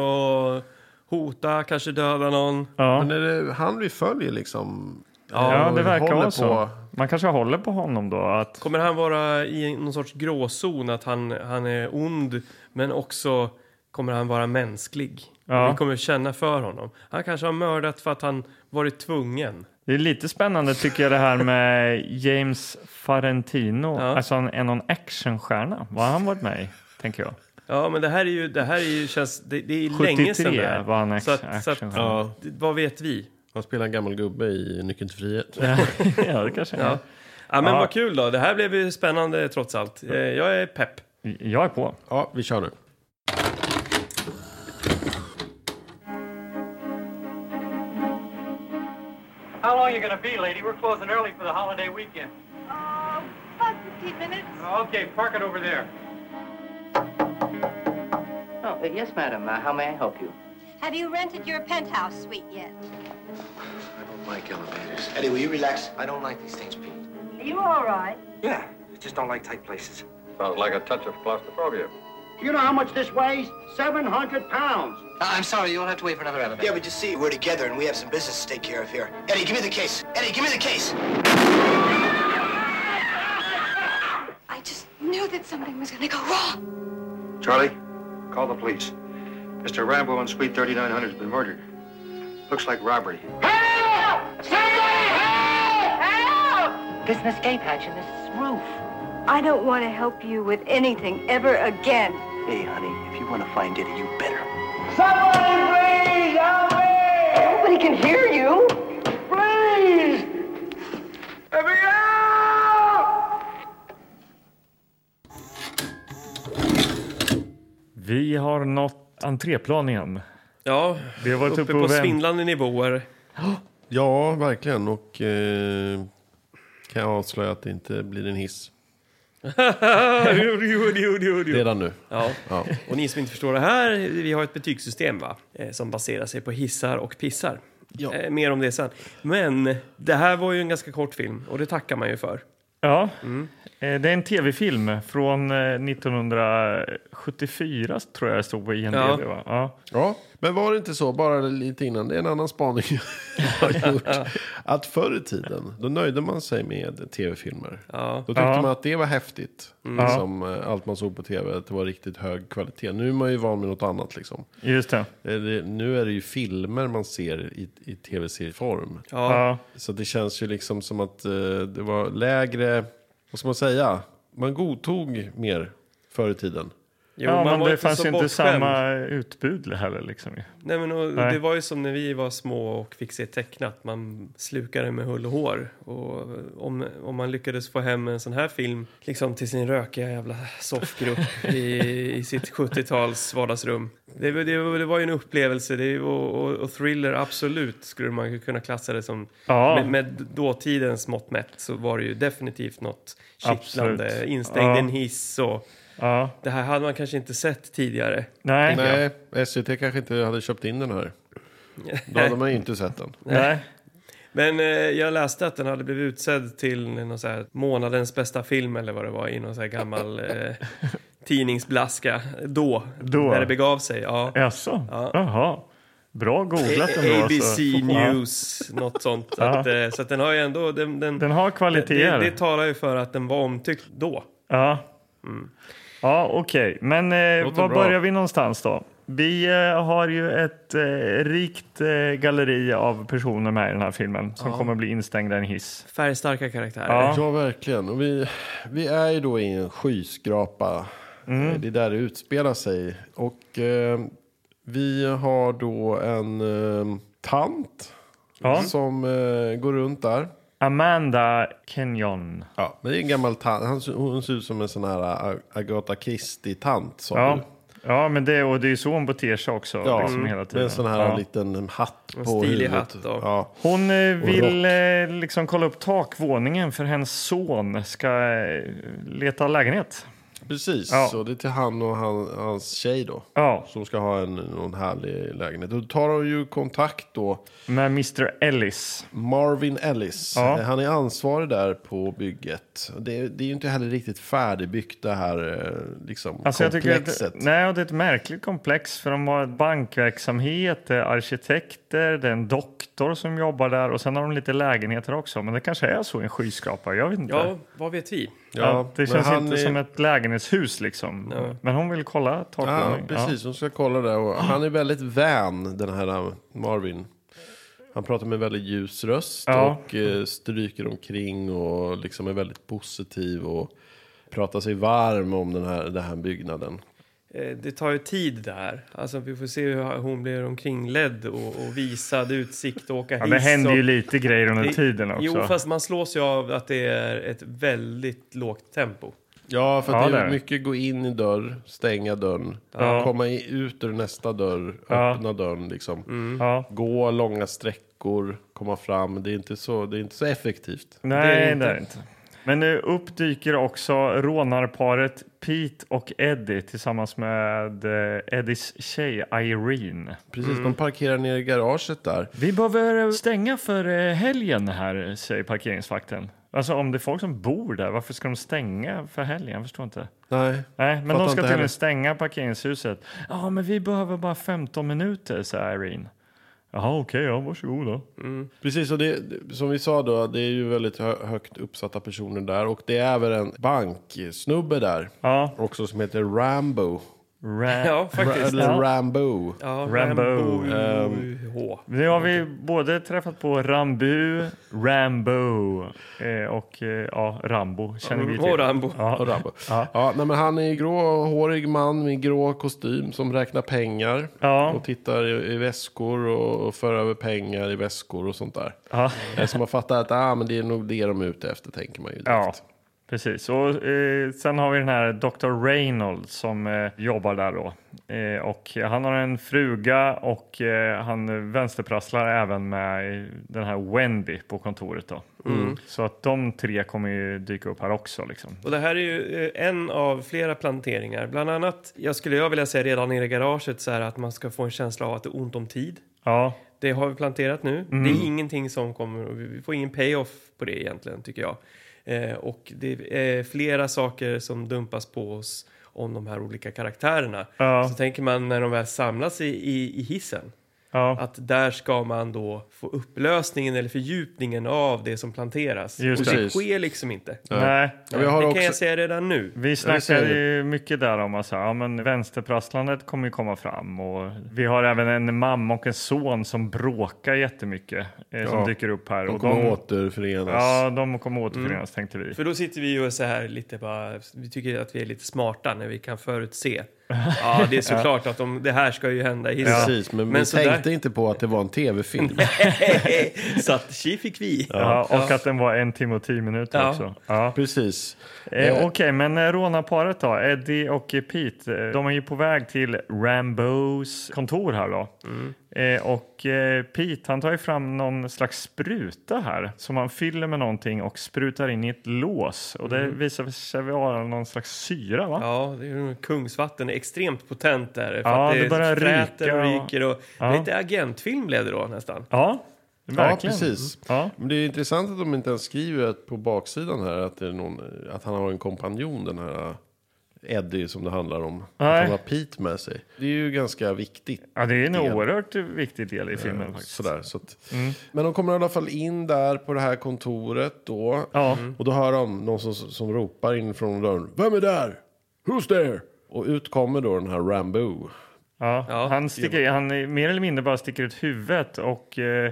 S1: att hota, kanske döda någon.
S2: Ja,
S3: Men är det han vi följer liksom?
S2: ja
S3: och
S2: det verkar
S3: håller
S2: vara
S3: på-
S2: så. Man kanske håller på honom då. Att,
S1: Kommer han vara i någon sorts gråzon, att han, han är ond, men också kommer han vara mänsklig?
S2: Ja.
S1: Vi kommer känna för honom. Han kanske har mördat för att han varit tvungen.
S2: det är lite spännande tycker jag det här med James Farentino.
S1: Ja.
S2: Alltså en, en någon actionstjärna. Vad har han varit med i? Tänker jag.
S1: Ja, men det här är ju, det här är ju känns, det, det är länge sedan det
S2: 73
S1: här.
S2: var han
S1: Så att-
S2: action,
S1: så att-
S2: actionstjärna.
S3: Ja,
S1: Det- Vad vet vi?
S3: han spelar en gammal gubbe i Nyckeln till frihet.
S2: (laughs) ja, det kanske
S1: Ja.
S2: är.
S1: Ja, men
S2: Ja.
S1: vad kul då. Det här blev ju spännande trots allt. Eh, Jag är pepp.
S2: Jag är på.
S3: Ja, vi kör nu.
S5: How long you gonna be, lady? We're closing early for the holiday weekend. Oh,
S6: Oh, about 15 minutes.
S5: Okay, park it over there.
S7: Oh, uh, yes, madam. Uh, how may I help you?
S6: Have you rented your penthouse suite yet?
S8: I don't like elevators. Eddie, will you relax? I don't like these things, Pete.
S6: Are you all right?
S8: Yeah, I just don't like tight places.
S9: Sounds like a touch of claustrophobia.
S10: You know how much this weighs? 700 pounds.
S7: Uh, I'm sorry. You'll have to wait for another elevator.
S8: Yeah, but you see, we're together and we have some business to take care of here. Eddie, give me the case. Eddie, give me the case.
S6: I just knew that something was going to go wrong.
S9: Charlie, call the police. Mr. Rambo in Suite 3900 has been murdered. Looks like robbery.
S7: There's an escape hatch in this roof.
S6: I don't want to help you with anything ever again.
S7: Hey, honey, if you want to find Eddie, you better.
S6: Nobody can hear you.
S2: Vi har nått entréplan igen.
S1: Ja,
S2: Vi har varit
S1: uppe
S2: uppe
S1: på
S2: och vänt.
S1: svindlande nivåer.
S3: Ja, verkligen. Och eh, kan jag avslöja att det inte blir en (laughs) hiss
S1: Jo, jo, jo, jo, jo.
S3: redan nu.
S1: Ja.
S3: Ja.
S1: Och ni som inte förstår det här, vi har ett betygssystem va? Eh, som baserar sig på hissar och pissar.
S3: Ja.
S1: Eh, mer om det sen. Men det här var ju en ganska kort film och det tackar man ju för.
S2: Ja,
S1: Mm.
S2: Eh, det är en tv-film från eh, 1974 tror jag det stod på IMDB.
S1: Ja.
S2: Va? Ja.
S3: Ja, men var det inte så, bara lite innan, det är en annan spaning jag (laughs) har gjort. Att förr i tiden, då nöjde man sig med tv-filmer.
S1: Ja.
S3: Då tyckte
S2: Ja.
S3: man att det var häftigt. Liksom, eh, allt man såg på tv, att det var riktigt hög kvalitet. Nu är man ju van vid något annat liksom.
S2: Just det.
S3: Eh, det- Nu är det ju filmer man ser i, i tv-serieform.
S1: Ja.
S2: Ja.
S3: Så det känns ju liksom som att eh, det var lägre, vad ska man säga? Man godtog mer förr i tiden.
S1: Jo,
S2: Ja, men
S1: var
S2: det fanns
S1: så
S2: ju inte
S1: bortskämd.
S2: samma utbud heller. Liksom. ju.
S1: Nej, men och,
S2: Nej.
S1: Det var ju som när vi var små och fick se tecknat. Man slukade med hull och hår. Och om, om man lyckades få hem en sån här film liksom till sin rökiga jävla soffgrupp i, i sitt 70-tals vardagsrum. Det, var- det, var- det var ju en upplevelse. Det, och, och, och thriller, absolut, skulle man ju kunna klassa det som.
S2: Ja.
S1: Med, med dåtidens mått mätt så var det ju definitivt något kittlande.
S2: Absolut.
S1: Instängd i
S2: Ja.
S1: en hiss och
S2: Ja.
S1: det här hade man kanske inte sett tidigare.
S2: Nej. Nej.
S3: Nej, SVT kanske inte hade köpt in den här. Då hade man ju inte sett den.
S1: Men eh, jag läste att den hade blivit utsedd till någon så här månadens bästa film eller vad det var i någon så här
S2: (laughs)
S1: gammal eh, tidningsblaska då,
S2: Då.
S1: när det begav sig. Ja.
S2: Jaså?
S1: Ja.
S2: Jaha. Bra googlat
S1: A-
S2: ändå.
S1: ABC
S2: alltså.
S1: News, något sånt. Så,
S2: Ja.
S1: att, eh, så att den har ju ändå... Den, den,
S2: Den har
S1: det,
S2: kvaliteter.
S1: det, det talar ju för att den var omtyckt då.
S2: Ja, Mm. ja okej. Men eh,
S3: Mm. Låter
S2: var
S3: bra.
S2: börjar vi någonstans då? Vi eh, har ju ett eh, rikt eh, galleri av personer med i den här filmen som kommer bli instängda i en hiss.
S1: Färgstarka karaktärer.
S2: Ja.
S3: Ja, verkligen. Och vi, vi är ju då i en skyskrapa.
S2: Mm.
S3: Eh, Det är där det utspelar sig. Och eh, vi har då en eh, tant
S2: Ja.
S3: som eh, går runt där.
S2: Amanda Kenyon.
S3: Ja, men det är en gammal tant. Han, ser- hon ser ut som en sån här eh, Ag- Agatha Christie-tant. sa
S2: Ja.
S3: du.
S2: Ja, men det, och det är ju så hon beter sig också.
S3: Mm. ja
S2: liksom, hela tiden.
S3: med en sån här
S2: ja.
S3: liten hatt
S1: En
S3: på
S1: stilig
S3: huvudet.
S1: hatt och-
S3: Ja.
S2: Hon eh, vill
S3: rock.
S2: eh, liksom kolla upp takvåningen för hennes son ska eh, leta lägenhet.
S3: Precis,
S2: Ja.
S3: så det är till han och han, hans tjej då.
S2: Ja,
S3: Som ska ha en någon härlig lägenhet. Och Då tar de ju kontakt då.
S2: med Mr. Ellis.
S3: Marvin Ellis.
S2: Ja.
S3: Eh, Han är ansvarig där på bygget. Det, det är ju inte heller riktigt färdigbyggt det här eh, liksom,
S2: Alltså jag tycker
S3: komplexet.
S2: att, nej, och det är ett märkligt komplex för de har bankverksamhet, det är arkitekter, det är en doktor som jobbar där och sen har de lite lägenheter också. Men det kanske är så i en skyskrapa, jag vet inte.
S1: ja, vad vet vi?
S2: Att det
S3: men
S2: känns
S3: han
S2: inte
S3: är-
S2: som ett lägenhetshus liksom. Men hon vill kolla
S3: Ja,
S2: takvåningen.
S3: precis. Hon ska kolla där. Och han är väldigt vän, den här eh, Marvin. Han pratar med väldigt ljus röst
S2: Ja.
S3: och eh, stryker omkring och liksom är väldigt positiv och pratar sig varm om den här, den här byggnaden.
S1: Eh, Det tar ju tid där. Alltså, vi får se hur hon blir omkringledd och, och visad utsikt och åka hiss.
S2: Ja, det händer
S1: och...
S2: ju lite grejer under
S1: Det-
S2: tiden också.
S1: Jo, fast man slås ju av att det är ett väldigt lågt tempo.
S3: Ja, för
S2: Ja,
S3: att det
S2: det är
S3: är
S2: det.
S3: mycket gå in i dörr, stänga dörren,
S2: Ja.
S3: komma i, ut ur nästa dörr,
S2: Ja. Mm.
S3: öppna dörren liksom.
S2: ja.
S3: Gå långa sträckor, komma fram. Det är inte så, det är inte så effektivt.
S2: Nej,
S1: Det är det
S2: det är det inte. Men nu uppdyker också rånarparet Pete och Eddie tillsammans med eh, Eddies tjej Irene.
S3: Precis, de parkerar ner i garaget där.
S2: Vi behöver stänga för eh, helgen här, säger parkeringsvakten. Alltså om det är folk som bor där, varför ska de stänga för helgen? Jag förstår inte.
S3: Nej,
S2: Nej, men
S3: Fattar
S2: de
S3: inte
S2: ska
S3: heller.
S2: tydligen stänga parkeringshuset. Ja, men vi behöver bara 15 minuter, säger Irene. Jaha, okej, ja, varsågod då.
S3: Precis, och det, som vi sa då, det är ju väldigt hö- högt uppsatta personer där. Och det är även en banksnubbe där,
S2: Ja,
S3: också som heter Rambo. (laughs)
S2: Ra-
S1: Ja, faktiskt.
S3: Eller Rambo.
S1: Ja,
S2: Rambo. ehm,
S1: H.
S2: Nu har vi både träffat på Rambu, Rambo eh, och eh, ja, Rambo känner vi till.
S1: Och Rambo.
S2: Ja.
S3: Och Rambo. Ja. nej, men han är gråhårig man med grå kostym som räknar pengar.
S2: Ja.
S3: Och tittar i, i väskor och, och för över pengar i väskor och sånt där.
S2: Ja.
S3: Eh, Så man fattar att ah, men det är nog det de är ute efter, tänker man ju.
S2: Ja,
S3: direkt.
S2: precis. Och, eh, sen har vi den här Dr. Reynolds som eh, jobbar där då. Eh, och han har en fruga och eh, han vänsterprasslar även med eh, den här Wendy på kontoret. Då.
S3: Mm.
S2: Så att de tre kommer ju dyka upp här också. Liksom.
S1: Och det här är ju eh, en av flera planteringar. Bland annat, jag skulle jag vilja säga redan i garaget så här att man ska få en känsla av att det är ont om tid.
S2: Ja,
S1: Det har vi planterat nu.
S2: Mm.
S1: Det är ingenting som kommer, och vi- vi får ingen payoff på det egentligen tycker jag. Eh, och det är flera saker som dumpas på oss om de här olika karaktärerna.
S2: Ja.
S1: Så tänker man när de väl samlas i, i, i hissen.
S2: ja.
S1: Att där ska man då få upplösningen eller fördjupningen av det som planteras.
S2: Just
S1: och det
S3: det.
S1: sker liksom inte.
S2: Nej.
S3: Ja, vi har
S1: det
S3: också,
S1: kan jag säga redan nu.
S2: Vi
S3: eh, ser
S2: snackade
S3: det.
S2: ju mycket där om att så här, ja, men vänsterprasslandet kommer ju komma fram och vi har även en mamma och en son som bråkar jättemycket eh, som
S3: Ja.
S2: dyker upp här.
S3: de
S2: och
S3: kommer återförenas.
S2: Ja, de kommer återförenas tänkte vi.
S1: För då sitter vi ju och så här lite bara, vi tycker att vi är lite smarta när vi kan
S2: (laughs)
S1: förutse. Ja, det är såklart att de, det här ska ju hända i hissen.
S3: Precis, men, vi
S1: så
S3: tänkte inte på att det var en tv-film.
S1: där- (laughs) så att tji fick vi.
S2: Ja, och att den var en timme och tio minuter
S1: Ja.
S2: också. Ja.
S3: Precis.
S2: Eh, Okej, men eh, rånarparet då, Eddie och eh, Pete, eh, de är ju på väg till Rambos kontor här då. Eh, och eh, Pete, han tar ju fram någon slags spruta här som han fyller med någonting och sprutar in i ett lås. Och det visar sig vara någon slags syra va?
S1: Ja, det är ju kungsvatten. Det är extremt potent där. För
S2: Ja,
S1: att
S2: det börjar
S1: fräter
S2: ryka
S1: och
S2: och-
S1: ryker. Och,
S2: Ja.
S1: Lite agentfilm blev det då nästan.
S2: Ja,
S3: Ja,
S2: verkligen. Mm.
S3: precis.
S2: Ja.
S3: Men det är intressant att de inte ens skriver att på baksidan här att, det är någon, att han har en kompanjon, den här eh, Eddie som det handlar om.
S2: Nej.
S3: Att han har Pete med sig. Det är ju ganska viktigt.
S2: Ja, det är en
S3: Del.
S2: oerhört viktig del i filmen
S3: eh,
S2: faktiskt.
S3: Sådär, så att,
S2: Mm.
S3: Men de kommer i alla fall in där på det här kontoret då.
S2: Ja.
S3: Och då hör de någon som, som ropar in från dörren. Vem är där? Who's there? Och ut kommer då den här Rambo.
S2: Ja,
S1: Ja.
S2: han, sticker, han är- mer eller mindre bara sticker ut huvudet och eh,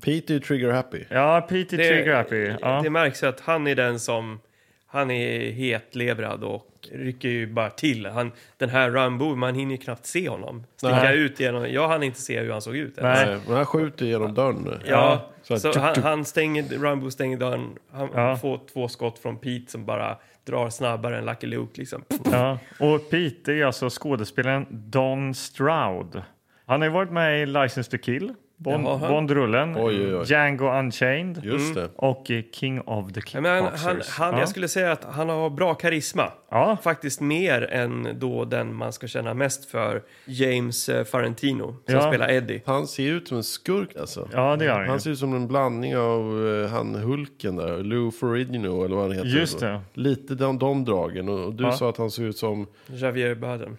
S3: Pete är ju trigger happy.
S2: ja, Pete är trigger happy. Ja.
S1: det märks ju att han är den som... Han är hetlevrad och rycker ju bara till. Han, den här Rambo, man hinner ju knappt se honom. Sticka
S2: Nej.
S1: ut genom... Jag hann inte se hur han såg ut.
S2: Nej.
S3: Nej, Eh, Men han skjuter genom dörren nu.
S1: Ja,
S3: Så
S1: så,
S3: här, tuk,
S1: han,
S3: tuk.
S1: han stänger, Rambo stänger dörren. Han
S2: Ja.
S1: får två skott från Pete som bara drar snabbare än Lucky Luke liksom.
S2: Ja, och Pete är alltså skådespelaren Don Stroud. Han har ju varit med i License to kill, Bond-
S1: Jaha.
S2: Bondrullen,
S3: Oj, oj, oj.
S2: Django Unchained
S3: Just det.
S2: och eh, King of the
S1: Ja, Men han,
S2: Kickboxers.
S1: han, han,
S2: ja.
S1: Jag skulle säga att han har bra karisma.
S2: Ja.
S1: Faktiskt mer än då den man ska känna mest för, James eh, Farentino, som
S2: Ja.
S1: spelar Eddie.
S3: Han ser ut som en skurk alltså.
S2: Ja, det gör han ju.
S3: Han ser ut som en blandning av eh, han Hulken där, Lou Ferrigno eller vad han heter.
S2: Just det.
S3: Lite de, de dragen. Och, och du
S2: Ja.
S3: sa att han ser ut som,
S1: Javier Bardem.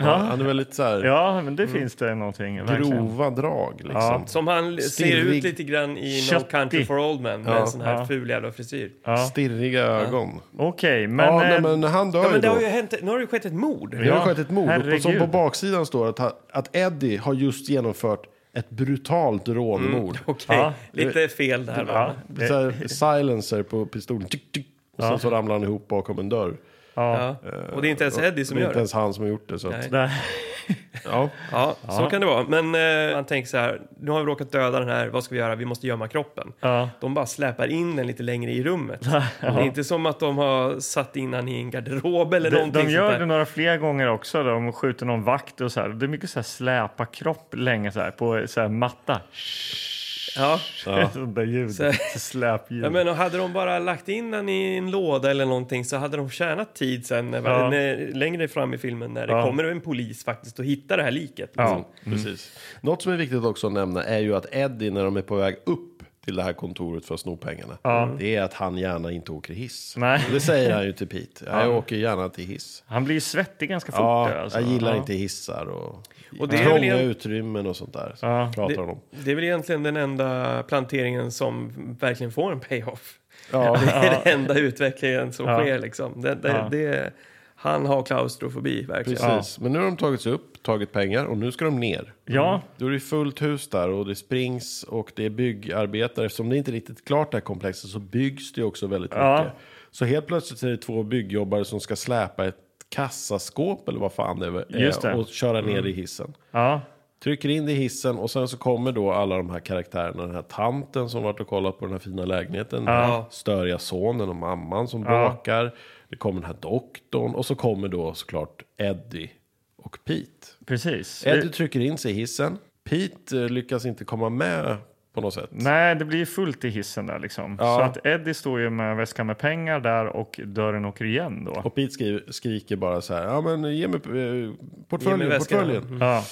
S2: Ja.
S3: han är väldigt så här
S2: Ja, men det
S1: Mm.
S2: finns det någonting. verkligen.
S3: grova drag liksom.
S1: Som han ser
S3: Stirrig.
S1: ut lite grann i No
S2: Köttig.
S1: Country for Old Men, med
S3: Ja.
S1: en sån här
S2: Ja.
S1: ful jävla frisyr. Ja,
S2: Ja.
S3: Stirriga ögon.
S2: Okej, men...
S3: Ja, nej,
S2: eh,
S3: men han dör ju
S1: men det
S3: då.
S1: har ju hänt, nu har det ju skett ett mord.
S3: Det har
S2: Ja,
S3: skett ett mord. Och på- Som på
S2: herregud.
S3: baksidan står att, ha- att Eddie har just genomfört ett brutalt rånmord.
S1: Okej,
S2: Ja.
S1: lite fel där va?
S2: ja,
S3: Så här, silencer på pistolen. Tick, tick. Och sen så ramlar han ihop bakom en dörr.
S2: ja.
S1: Ja. Och det är inte ens Eddie som
S3: det är
S1: gör
S3: inte
S1: det.
S3: ens han som har gjort det. Så
S1: Nej.
S3: att,
S2: Där.
S3: ja.
S1: Ja, så kan det vara. Men eh, man tänker så här, nu har vi råkat döda den här, vad ska vi göra? Vi måste gömma kroppen.
S2: Ja.
S1: De bara släpar in den lite längre i rummet. Det är inte som att de har satt in den i en garderob eller
S2: De,
S1: någonting
S2: de gör
S1: sånt
S2: det
S1: där.
S2: några fler gånger också. då. De skjuter någon vakt och så här. Det är mycket så här släpa kropp länge så här på så här matta.
S1: Ja.
S2: (laughs) Sånt där ljud.
S1: Så-
S2: Släpljud.
S1: Ja, men och hade de bara lagt in den i en låda eller någonting så hade de tjänat tid sen när,
S2: Ja.
S1: när, längre fram i filmen när det
S2: Ja.
S1: kommer en polis faktiskt och hittar det här liket. Liksom.
S2: Ja.
S3: Precis. Mm. Något som är viktigt också att nämna är ju att Eddie när de är på väg upp till det här kontoret för att sno pengarna. Det är att han gärna inte åker hiss.
S2: Nej.
S3: Det säger han ju till Pete. Jag åker gärna till hiss.
S2: Han blir ju svettig ganska fort.
S3: Ja,
S2: där, alltså.
S3: jag gillar
S2: Ja.
S3: inte hissar och,
S1: Och det är väl
S3: trånga
S1: en-
S3: utrymmen och sånt där. Så
S2: Ja.
S3: pratar
S1: Det,
S3: han om.
S1: det är väl egentligen den enda planteringen som verkligen får en payoff.
S3: Ja.
S1: (laughs) Det är den enda utvecklingen som sker. Liksom. Det, det,
S2: Ja.
S1: det, Han har klaustrofobi verkligen.
S3: Precis. Men nu har de tagits upp, tagit pengar och nu ska de ner.
S2: Ja,
S3: Då är det fullt hus där och det springs och det är byggarbetare. Eftersom det inte är riktigt klart det här komplexet så byggs det ju också väldigt
S2: Ja.
S3: mycket. Så helt plötsligt så är det två byggjobbare som ska släpa ett kassaskåp eller vad fan det är
S2: Just det. Mm.
S3: och köra ner i hissen.
S2: ja.
S3: Trycker in det i hissen och sen så kommer då alla de här karaktärerna. Den här tanten som varit och kollat på den här fina lägenheten. Den här störiga sonen och mamman som bråkar. Det kommer den här doktorn och så kommer då såklart Eddie och Pete.
S2: precis.
S3: Eddie
S2: Det-
S3: trycker in sig i hissen. Pete eh, lyckas inte komma med på något sätt.
S2: Nej, det blir ju fullt i hissen där liksom. Så att Eddie står ju med en väska med pengar där och dörren åker igen då.
S3: Och Pete skriver, skriker bara så här, ja men ge mig eh, portföljen,
S1: Ge mig väskan."
S3: portföljen.
S2: Ja,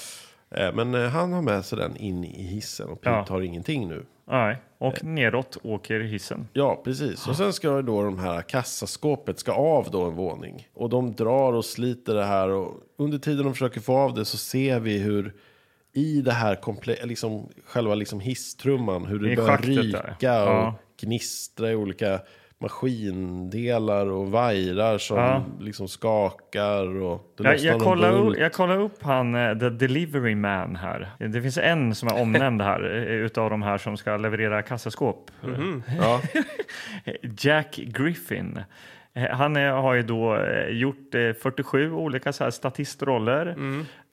S3: Eh, Men eh, han har med sig den in i hissen och Pete
S2: Ja.
S3: tar ingenting nu.
S2: nej. Och neråt åker hissen.
S3: Ja, precis. Och sen ska då de här kassaskåpet ska av då en våning. Och de drar och sliter det här och under tiden de försöker få av det så ser vi hur i det här komple- liksom, själva liksom hisstrumman hur det
S2: I
S3: börjar
S2: schaktet där.
S3: ryka
S2: Ja.
S3: och gnistra i olika maskindelar och vajrar som
S2: Ja.
S3: liksom skakar och det
S2: Jag,
S3: lossnar
S2: jag,
S3: någon
S2: kollar upp,
S3: bolt.
S2: jag kollar upp han eh, The Delivery Man här. Det finns en som är omnämnd här eh, utav de här som ska leverera kassaskåp. (laughs)
S3: Ja.
S2: Jack Griffin. Eh, Han är, har ju då eh, gjort eh, 47 olika så här statistroller.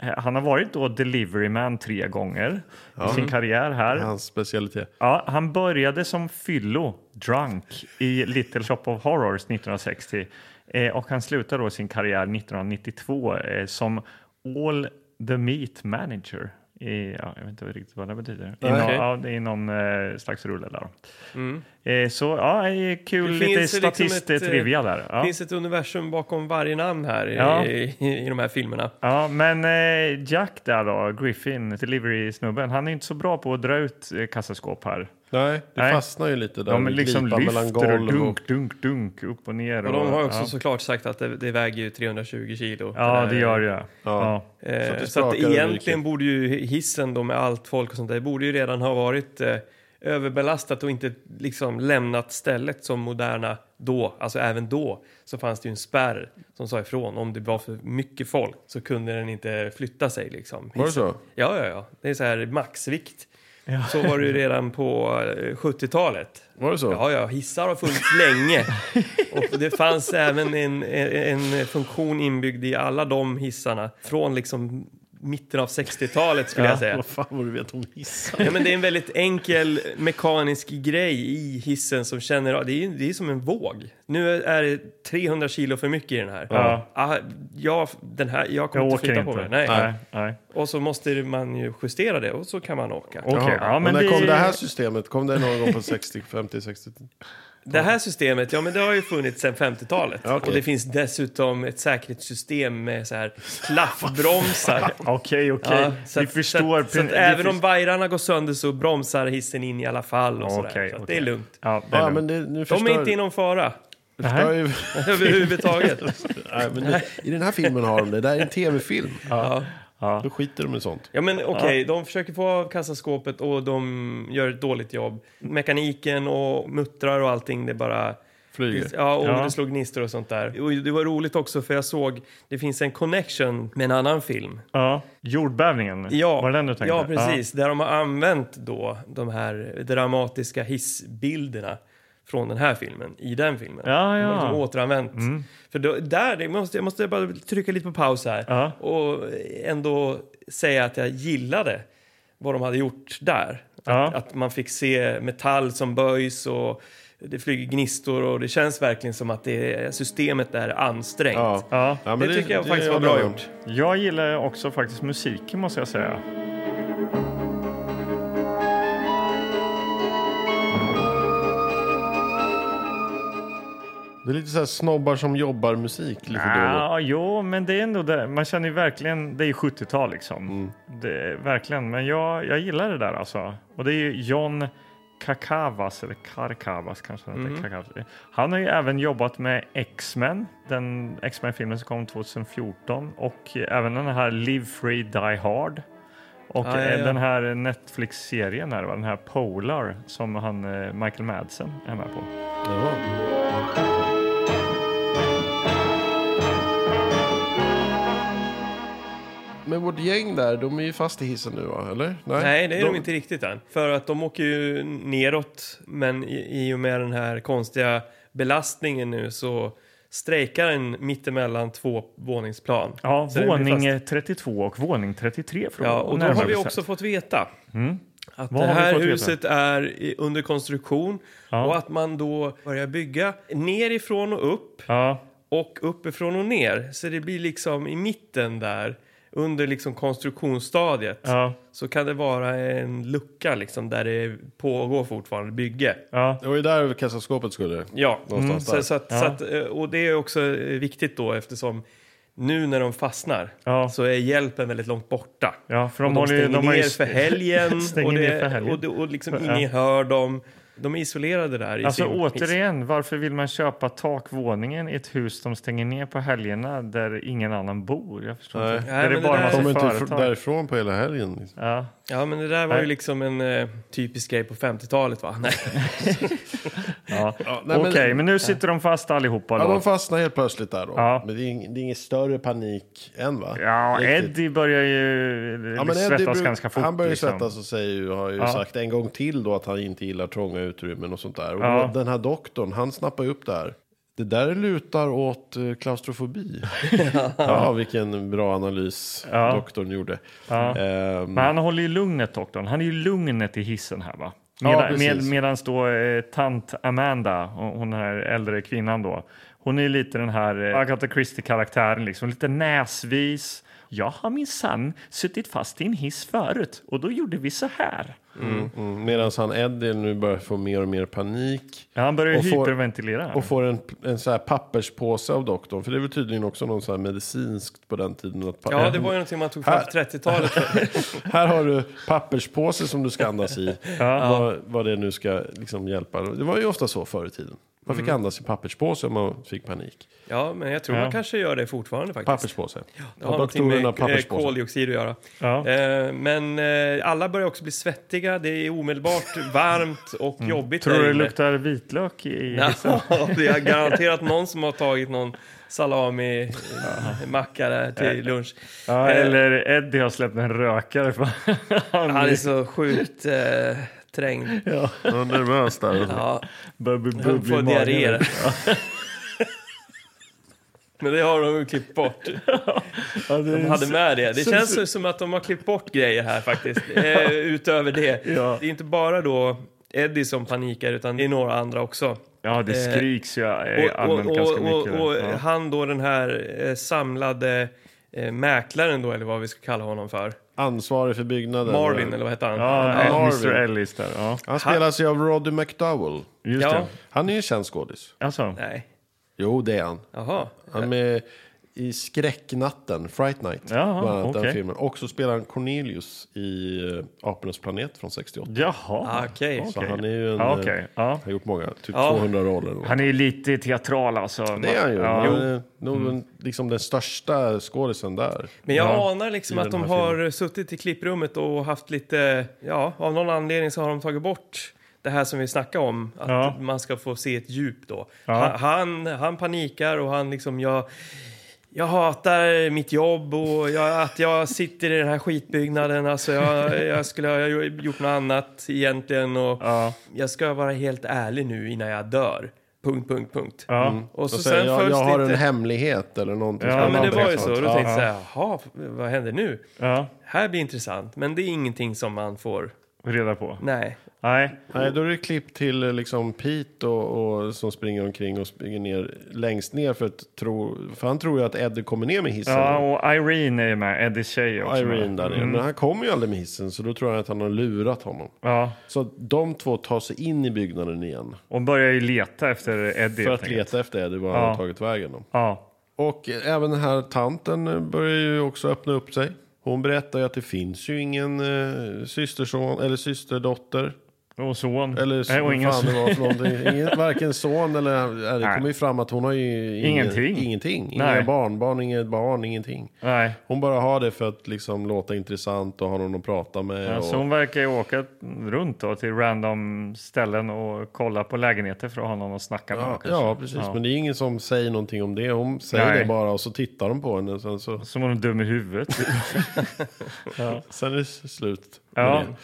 S2: Eh, Han har varit då delivery man tre gånger i sin karriär här. Ja.
S3: Hans specialitet.
S2: han började som fyllo, drunk, i Little Shop of Horrors 1960. Eh, och han slutade då sin karriär 1992 eh, som All the Meat Manager. I, ja, jag vet inte riktigt vad det betyder. I någon,
S1: Okej. Mm.
S2: ja, det är någon eh, slags rulle där. då. Eh, Så ja, det är kul
S1: Det
S2: lite
S1: finns ju liksom ett, eh,
S2: statist-trivia där.
S1: Det
S2: Ja.
S1: finns ett universum bakom varje namn här i,
S2: Ja.
S1: i, i, de här filmerna.
S2: Ja, men eh, Jack där då, Griffin, delivery-snubben, han är inte så bra på att dra ut eh, kassaskåp här.
S3: Nej, det
S2: Nej.
S3: fastnar ju lite där.
S2: De
S3: med
S2: liksom
S3: glipan
S2: lyfter och dunk, dunk, dunk, upp och ner.
S1: Och de har också
S2: ja.
S1: såklart sagt att det, det väger ju 320 kilo.
S2: ja,
S1: där.
S2: det gör jag. Ja.
S1: Eh,
S3: Så att det
S1: Så att
S3: sprakar och
S1: egentligen borde ju hissen då med allt folk och sånt där, borde ju redan ha varit eh, överbelastat och inte liksom lämnat stället som moderna då, alltså även då så fanns det ju en spärr som sa ifrån om det var för mycket folk så kunde den inte flytta sig liksom.
S3: Var det så?
S1: Ja, ja, ja. Det är så här maxvikt. Så var det ju redan på eh, 70-talet.
S3: Var det så?
S1: Ja, ja, hissar har funnits länge. Och det fanns även en, en, en funktion inbyggd i alla de hissarna från liksom mitten av 60-talet skulle jag säga.
S3: Vad fan vad du vet om hissar.
S1: Ja, men det är en väldigt enkel mekanisk grej i hissen som känner av. Det är, ju- det är som en våg. Nu är det 300 kilo för mycket i den här.
S2: Ja.
S1: Ah, jag, den här jag kommer
S2: Jag
S1: inte
S2: åker
S1: flytta
S2: inte.
S1: på mig. Nej.
S2: nej. nej.
S1: Och så måste man ju justera det och så kan man åka.
S2: Okej,
S3: Jaha.
S2: ja,
S3: och
S2: men
S3: när
S2: det...
S3: kom det här systemet? Kom det någon gång på 60, 50, 60?
S1: Det här systemet, ja men det har ju funnits sedan 50-talet.
S3: Ja, okej.
S1: Och det finns dessutom ett säkerhetssystem med så här
S2: (laughs)
S1: klaffbromsar.
S2: Okej, okej.
S1: Ja, så
S2: vi
S1: att- Så,
S2: förstår.
S1: att, så att
S2: vi
S1: även
S2: för-
S1: om vajrarna går sönder så bromsar hissen in i alla fall och sådär.
S2: Okej,
S1: så att det
S2: okej.
S1: är lugnt.
S2: Ja, det är
S3: Ja,
S2: lugnt.
S3: men det, nu
S1: De
S3: förstör,
S1: är inte i någon fara
S3: förstör ju,
S2: (laughs)
S1: överhuvudtaget.
S3: (laughs) nej, men nu, I den här filmen har de det. Det här är en tv-film.
S1: Ja.
S3: Då skiter de i sånt.
S1: Ja men okej, de försöker få av kassaskåpet och de gör ett dåligt jobb. Mekaniken och muttrar och allting, det bara...
S3: Flyger.
S1: Ja, och
S2: Ja.
S1: det slog gnistor och sånt där. Och det var roligt också för jag såg, det finns en connection med en annan film.
S2: ja. Jordbävningen,
S1: Ja,
S2: var det den du tänkte?
S1: ja precis. Där de har använt då de här dramatiska hissbilderna från den här filmen, i den filmen.
S2: Ja, Mm.
S1: De har
S2: ja.
S1: liksom återanvänt. För då, där, det måste, jag måste bara trycka lite på paus här
S2: Ja.
S1: och ändå säga att jag gillade vad de hade gjort där.
S2: Ja.
S1: Att, att man fick se metall som böjs och det flyger gnistor och det känns verkligen som att det, systemet är ansträngt.
S3: Ja.
S2: Ja.
S3: Ja, men
S1: Det tycker jag faktiskt var
S3: håller
S1: bra
S3: jag med om.
S1: gjort.
S2: Jag gillar också faktiskt musiken måste jag säga.
S3: Det är lite så här snobbar som jobbar musik lite då.
S2: Ja, Ah, jo, men det är ändå det. Man känner ju verkligen, det är ju 70-tal liksom.
S1: Mm.
S2: Det, är verkligen, men jag, jag gillar det där alltså. Och det är ju John Kakavas, eller Karkavas kanske han
S1: Mm.
S2: heter. Kakavas. Han har ju även jobbat med X-Men, den X-Men-filmen som kom 2014. Och även den här Live Free Die Hard. Och
S1: Ah, ja,
S2: eh,
S1: ja.
S2: den här Netflix-serien, här, va? den här Polar, som han, eh, Michael Madsen är med på.
S3: Ja. Men vårt gäng där, de är ju fast i hissen nu va? Eller?
S1: Nej, det är de, inte riktigt än. För att de åker ju neråt, men i, i och med den här konstiga belastningen nu så strejkar den mittemellan två våningsplan.
S2: Ja,
S1: Så den blir fast.
S2: våning 32 och våning 33 från
S1: Ja, och då har vi också fått veta att
S2: Mm. Vad
S1: det
S2: har vi
S1: här
S2: fått veta?
S1: huset är i- under konstruktion
S2: Ja.
S1: och att man då börjar bygga nerifrån och upp
S2: Ja,
S1: och uppifrån och ner. Så det blir liksom i mitten där under liksom konstruktionsstadiet
S2: ja,
S1: så kan det vara en lucka liksom där det pågår fortfarande bygge.
S2: ja.
S3: Det var ju där kassaskåpet skulle.
S1: Ja, mm.
S3: Någonstans där.
S1: så, så att, så att, eh, och det är också eh, viktigt då eftersom nu när de fastnar
S2: Ja.
S1: så är hjälpen väldigt långt borta.
S2: Ja, för de
S1: och de
S2: håller ju-
S1: stänger
S2: de har ju
S1: ner för helgen.
S2: (laughs) stänger
S1: och, det,
S2: ner för helgen.
S1: och, det, och liksom
S2: Ja.
S1: ingen hör dem. De är isolerade där i
S2: Alltså
S1: sin hiss.
S2: återigen, varför vill man köpa takvåningen i ett hus de stänger ner på helgerna där ingen annan bor? Jag förstår
S3: Nej.
S2: inte.
S1: Nej,
S2: där det
S1: men
S2: är
S1: det
S2: bara
S1: där-
S2: en
S3: De är
S2: massa
S3: inte fr-
S2: företag.
S3: därifrån på hela helgen. Liksom.
S2: Ja.
S1: Ja, men det där var
S2: Nej.
S1: ju liksom en eh, typisk grej på 50-talet va? Nej.
S2: Ja.
S3: nej, men-
S2: Okej, men nu sitter de fast allihopa
S3: Ja,
S2: då.
S3: de fastnar helt plötsligt där då.
S2: Ja.
S3: Men det är, ing, det är ingen större panik än va?
S2: Ja,
S3: Riktigt.
S2: Eddie börjar ju
S3: Ja, men Eddie
S2: svettas
S3: bruk-
S2: ganska fort.
S3: Han börjar
S2: liksom.
S3: svettas och säger ju, har ju
S2: Ja.
S3: sagt en gång till då att han inte gillar trånga utrymmen och sånt där. Och
S2: Ja.
S3: då- den här doktorn, han snappar ju upp där. Det där lutar åt eh, klaustrofobi. ja. vilken bra analys
S2: Ja.
S3: doktorn gjorde.
S2: Ja.
S3: Ehm,
S2: Men han håller ju lugnet, doktorn. Han är ju lugnet i hissen här, va?
S3: Ja,
S2: Medan,
S3: precis.
S2: med, medans då eh, tant Amanda, hon hon den här äldre kvinnan då, hon är ju lite den här eh, Agatha Christie-karaktären, liksom lite näsvis. Jag har minsann suttit fast i en hiss förut och då gjorde vi så här.
S3: mm, Medan han Eddie nu börjar få mer och mer panik.
S2: Ja, han börjar ju
S3: Och får-
S2: hyperventilera. här.
S3: Och får en, en så här papperspåse av doktorn. För det är väl tydligen också någon så här medicinskt på den tiden. Att pa-
S2: Eh,
S1: Ja, det var ju någonting man tog fram på
S2: (laughs)
S1: 30-talet.
S3: Här har du papperspåse som du ska andas i. Vad, vad det nu ska liksom hjälpa. Det var ju ofta så förr i tiden. Man
S2: Mm.
S3: fick andas i papperspåse om man fick panik.
S1: Ja, men jag tror
S2: Ja.
S1: man kanske gör det fortfarande faktiskt.
S3: Papperspåse.
S1: Det
S3: Ja,
S1: har någonting
S3: doktorerna
S1: med eh,
S3: papperspåse.
S1: koldioxid att göra.
S2: Ja.
S1: Eh, Men eh, alla börjar också bli svettiga. Det är
S2: (laughs)
S1: omedelbart varmt och jobbigt
S2: Mm. Tror
S1: där
S2: du det
S1: inne.
S2: luktar vitlök i
S1: eh, Ja, (laughs)
S2: hissen?
S1: det är garanterat någon som har tagit någon salami-macka där till lunch.
S2: Ja,
S1: Eh,
S2: eller Eddie har släppt en rökare. för (laughs) han
S1: Han är så sjukt eh, trängd.
S3: Jag var nervös där.
S1: Ja,
S2: börjar bli bubblig
S1: han
S2: i
S1: får
S2: magen.
S1: diarré. (laughs) Men det har de ju klippt bort.
S2: (laughs) Ja, det
S1: De
S2: är en
S1: hade med det. Det känns ju som att de har klippt bort grejer här faktiskt.
S2: (laughs)
S1: Eh, utöver det.
S2: Ja.
S1: Det är inte bara då Eddie som panikar utan det är några andra också.
S2: Ja, det
S1: Eh,
S2: skriks ju eh,
S1: Och, och,
S2: allmänt
S1: och,
S2: ganska
S1: och,
S2: mycket.
S1: och
S2: där. ja.
S1: han då den här eh, samlade eh, mäklaren då eller vad vi ska kalla honom för.
S3: Ansvarig för byggnaden.
S1: Marvin eller vad hette han?
S2: Ja,
S3: Ja,
S2: Mr
S3: Marvin.
S2: Ellis där. Ja,
S3: Han spelas ju av Roddy McDowell.
S2: just
S1: Ja.
S3: Han är ju en känd skådis.
S2: det. Alltså,
S1: Nej,
S3: Jo, det är han.
S1: jaha.
S3: Han är med i Skräcknatten, Fright Night.
S2: Jaha,
S3: bland annat
S2: okej.
S3: den filmen. Och så spelar han Cornelius i eh, Apornas planet från 68.
S2: jaha.
S1: Ah, Okej.
S3: Så
S2: Okej.
S3: han är ju en...
S2: Ja,
S3: eh,
S2: okej. Ja.
S3: Har gjort många, typ
S1: Ja.
S3: 200 roller. eller något.
S2: Han är ju lite teatral alltså.
S3: Det är han ju.
S2: Ja.
S3: Han är nog
S1: Mm.
S3: den- liksom den största skådisen där.
S1: Men jag
S2: Ja,
S1: anar liksom
S3: i
S1: att
S3: den
S1: de
S3: här
S1: har suttit i klipprummet och haft lite, ja, av någon anledning så har de tagit bort det här som vi snackade om, att
S2: Ja.
S1: man ska få se ett djup då.
S2: Ja.
S1: Ha- Han, han panikar och han liksom, jag, jag hatar mitt jobb och jag, att jag sitter i den här skitbyggnaden, alltså jag, jag skulle ha gjort något annat egentligen och
S2: Ja.
S1: jag ska vara helt ärlig nu innan jag dör. Punkt, punkt, punkt.
S2: Ja.
S1: Och så
S3: Och
S1: sen
S3: sen, Alltså, jag,
S1: följs
S3: jag
S1: det
S3: har
S1: inte-
S3: en hemlighet eller någonting.
S2: Ja,
S1: Ja,
S3: som
S1: men det
S3: andra
S1: var ju
S3: kan
S1: så.
S3: ta.
S1: Då
S2: Ja,
S1: tänkte jag
S2: ja.
S1: så här, jaha, vad händer nu?
S2: ja,
S1: Här blir intressant, men det är ingenting som man får.
S2: reda på.
S1: Nej.
S2: Nej,
S3: Nej, då är det klipp till eh, liksom Pete och, och, som springer omkring och springer ner längst ner för, att tro, för han tror ju att Eddie kommer ner med hissen.
S2: ja, och Irene är ju med, Eddies tjej är också.
S3: Irene
S2: med.
S3: där nere.
S1: Mm.
S3: Men han kommer ju aldrig med hissen så då tror han att han har lurat honom.
S2: Ja,
S3: Så att de två tar sig in i byggnaden igen.
S2: och börjar ju leta efter Eddie.
S3: För
S2: helt
S3: att
S2: enkelt.
S3: leta efter Eddie, var han
S2: Ja.
S3: har tagit vägen. Då.
S2: Ja,
S3: Och även den här tanten börjar ju också öppna upp sig. Hon berättar ju att det finns ju ingen eh, systerson eller systerdotter
S2: Och son.
S3: Eller så,
S2: Nej, och
S3: vad
S2: ingen
S3: fan
S2: son.
S3: det var för någonting. Ingen, varken son eller... ja, Det
S2: Nej.
S3: kommer ju fram att hon har ju ingen,
S2: Ingenting.
S3: ingenting.
S2: Nej.
S3: Inga barnbarn, inget barn, ingenting.
S2: (laughs) Nej.
S3: Hon bara har det för att liksom låta intressant och ha någon att prata med.
S2: Alltså
S3: och,
S2: hon verkar ju åka runt då till random ställen och kolla på lägenheter för att ha någon att snacka med.
S3: ja,
S2: kanske.
S3: ja, precis. Men det är ingen som säger någonting om det. Hon säger
S2: Nej.
S3: det bara och så tittar de på henne. Sen, så,
S2: Som hon är dum i huvudet.
S3: sen är det slut. med
S2: Ja.
S3: det.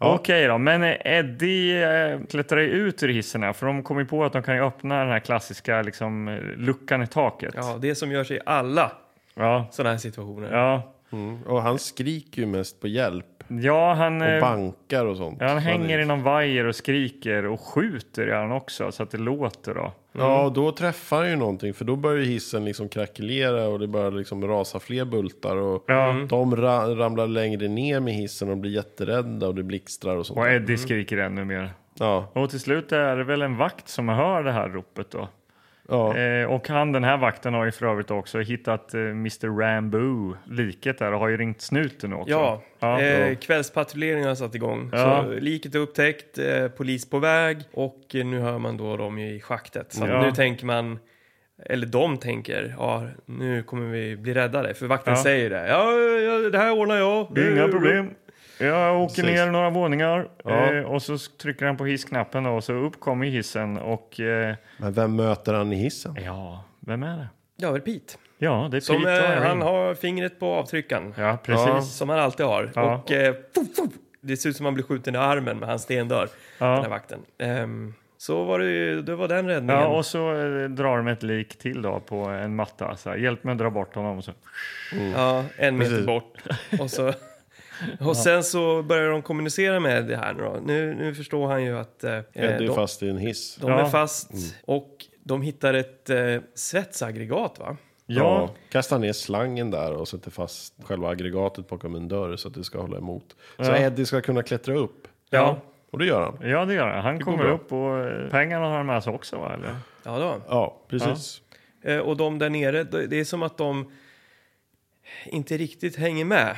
S2: Okej då, men eh, Eddie eh, klättrar ju ut ur hissen här, för de kommer ju på att de kan ju öppna den här klassiska liksom, eh, luckan i taket.
S1: Ja, det som gör sig i alla
S2: Ja,
S1: sådana här situationer.
S2: ja.
S3: Mm. Och han skriker ju mest på hjälp.
S2: ja han,
S3: Och
S2: eh,
S3: bankar och sånt.
S2: ja, han hänger
S3: är-
S2: i någon vajer och skriker och skjuter gör han också, så att det låter då.
S3: Ja,
S2: Mm.
S3: och då träffar han ju någonting. För då börjar ju hissen liksom krackelera och det börjar liksom rasa fler bultar. Och
S1: Mm.
S3: de ra- ramlar längre ner med hissen och blir jätterädda och det blixtrar och sånt.
S2: Och Eddie skriker ännu mer.
S3: Ja,
S2: Och till slut är det väl en vakt som hör det här ropet då.
S3: ja.
S2: Eh, och han, den här vakten, har ju för övrigt också hittat eh, Mr Rambo, liket där, och har ju ringt snuten också.
S1: Ja,
S2: ja.
S1: eh, kvällspatrulleringen har satt igång.
S2: Ja.
S1: Så liket är upptäckt, eh, polis på väg och eh, nu hör man då dem i schaktet. Så att
S2: Ja.
S1: nu tänker man, eller de tänker, ja nu kommer vi bli räddade. För vakten
S2: Ja.
S1: säger det. Ja, ja, det här ordnar jag.
S2: Det är Inga problem. Jag åker
S3: Precis.
S2: ner några våningar
S3: Ja.
S2: eh, och så s- trycker han på hissknappen då, och så upp kommer hissen och eh,
S3: Men vem möter han i hissen?
S2: ja, vem är det?
S1: Ja, det är Pete.
S2: Ja, det är
S1: Som,
S2: Pete och
S1: eh,
S2: Irene.
S1: han har fingret på avtryckaren.
S2: Ja, precis.
S1: Som han alltid har.
S2: Ja.
S1: Och, eh, fuh, fuh. det ser ut som att han blir skjuten i armen, men han stendör,
S2: Ja.
S1: den här vakten. Ehm, så var det, ju- det var den räddningen.
S2: Ja, och så eh, drar de ett lik till då på en matta. Så här, Hjälp mig att dra bort honom. Och så.
S1: Ja, en meter
S3: Precis.
S1: bort. Och,
S2: (laughs)
S1: så, och sen så börjar de kommunicera med det här nu då. Nu, nu förstår han ju att eh,
S3: Eddie är
S1: de,
S3: fast Mm. i en hiss.
S1: de
S2: Ja.
S1: är fast och de hittar ett eh, svetsaggregat va?
S2: Ja,
S3: Kastar ner slangen där och sätter fast själva aggregatet bakom en dörr så att det ska hålla emot. Så
S2: Ja.
S3: Eddie ska kunna klättra upp.
S1: Ja.
S3: Och det gör han.
S2: ja, det gör han. Han kommer
S3: bra.
S2: upp och eh, pengarna har han med sig också, va? Eller?
S1: Ja, då.
S3: Ja, precis.
S1: Eh, och de där nere, det det är som att de inte riktigt hänger med.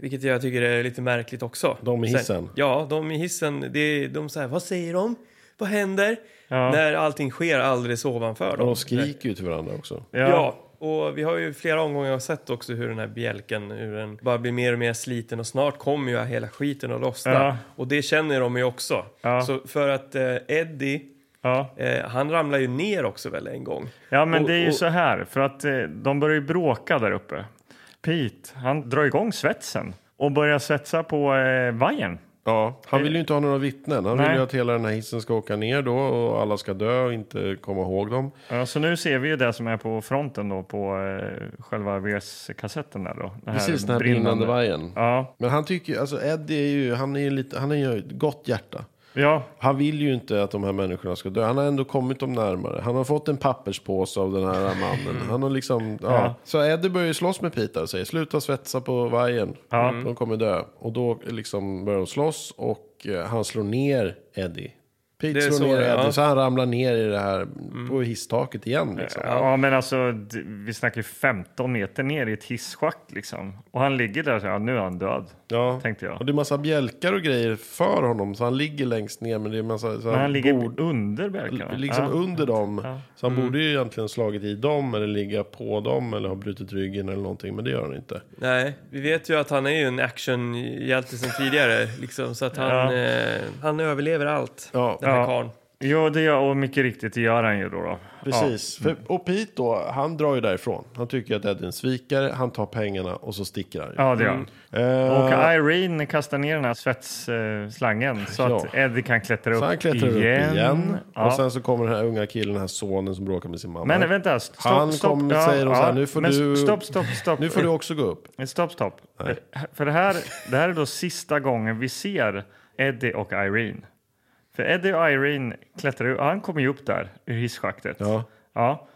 S1: Vilket jag tycker är lite märkligt också.
S3: De i
S1: Sen-
S3: hissen?
S1: ja, de i hissen. Det, är- de säger, vad säger de? Vad händer?
S2: Ja.
S1: När allting sker alldeles ovanför
S3: Och
S1: dem.
S3: de skriker ju till varandra också.
S1: Ja. och vi har ju flera omgångar sett också hur den här bjälken hur den bara blir mer och mer sliten och snart kommer ju hela skiten att lossna.
S2: Ja.
S1: Och det känner de ju också.
S2: Ja.
S1: Så för att eh, Eddie,
S2: ja.
S1: eh, han ramlar ju ner också väl en gång.
S2: Ja, men
S1: Och-
S2: det är ju
S1: och-
S2: så här, för att eh, de börjar ju bråka där uppe. Pete, han drar igång svetsen och börjar svetsa på eh, vajern.
S3: Ja, han vill ju inte ha några vittnen. Han
S2: Nej.
S3: vill ju att hela den här hissen ska åka ner då och alla ska dö och inte komma ihåg dem.
S2: Ja, så nu ser vi ju det som är på fronten då, på eh, själva VS-kassetten där då. Den
S3: Precis, den här brinnande vajern.
S2: Ja,
S3: Men han tycker alltså Eddie är ju, han är ju lite, han är ju ett gott hjärta.
S2: ja,
S3: Han vill ju inte att de här människorna ska dö. Han har ändå kommit dem närmare. Han har fått en papperspåse av den här mannen. Han har liksom, ja.
S2: Mm. Ja.
S3: Så Eddie börjar ju slåss med Pita och säger sluta svetsa på vajern.
S2: Ja.
S3: De kommer dö. Och då liksom börjar de slåss och eh, han slår ner Eddie. Pete
S1: Det är så,
S3: slår ner
S1: ja.
S3: Eddie så han ramlar ner i det här på hisstaket igen. Liksom.
S2: Mm. ja, men alltså d- vi snackar ju 15 meter ner i ett hisschakt liksom. Och han ligger där och säger, ja, nu är han död.
S3: Ja.
S2: Tänkte
S3: Och
S2: jag.
S3: det är massa bjälkar och grejer för honom. Så han ligger längst ner. Men det är massa så
S2: Men han ligger
S3: bord,
S2: under bjälkarna.
S3: liksom
S2: ja.
S3: under dem. Så han borde ju egentligen slagit i dem. Eller ligga på dem. Eller ha brutit ryggen eller någonting. Men det gör han inte.
S1: Nej, vi vet ju att han är ju en actionhjälte sen tidigare. Liksom, så att han, eh, han överlever allt,
S3: Ja.
S1: den här
S2: Ja.
S1: karln.
S2: Jo, det gör, och mycket riktigt, det gör han ju då. då.
S3: Precis. För, och Pete då, han drar ju därifrån. Han tycker att Eddie är en svikare. Han tar pengarna och så sticker han. ju.
S2: Ja, det gör han.
S3: Eh,
S2: Och Irene kastar ner den här svetsslangen så
S3: Ja.
S2: att Eddie kan klättra upp
S3: så han klättrar
S2: igen.
S3: upp igen.
S2: Ja.
S3: Och sen så kommer den här unga killen, den här sonen som bråkar med sin mamma.
S2: men vänta, stopp,
S3: Han
S2: stopp.
S3: kommer och säger då så här, nu får
S2: men
S3: du-
S2: Stopp, stopp, stopp.
S3: Nu får du också gå upp.
S2: Stopp, stopp. För det här, det här är då sista gången vi ser Eddie och Irene. För Eddie och Irene klättrar ju, han kommer ju upp där ur hisschaktet.
S3: Ja.
S2: Ja.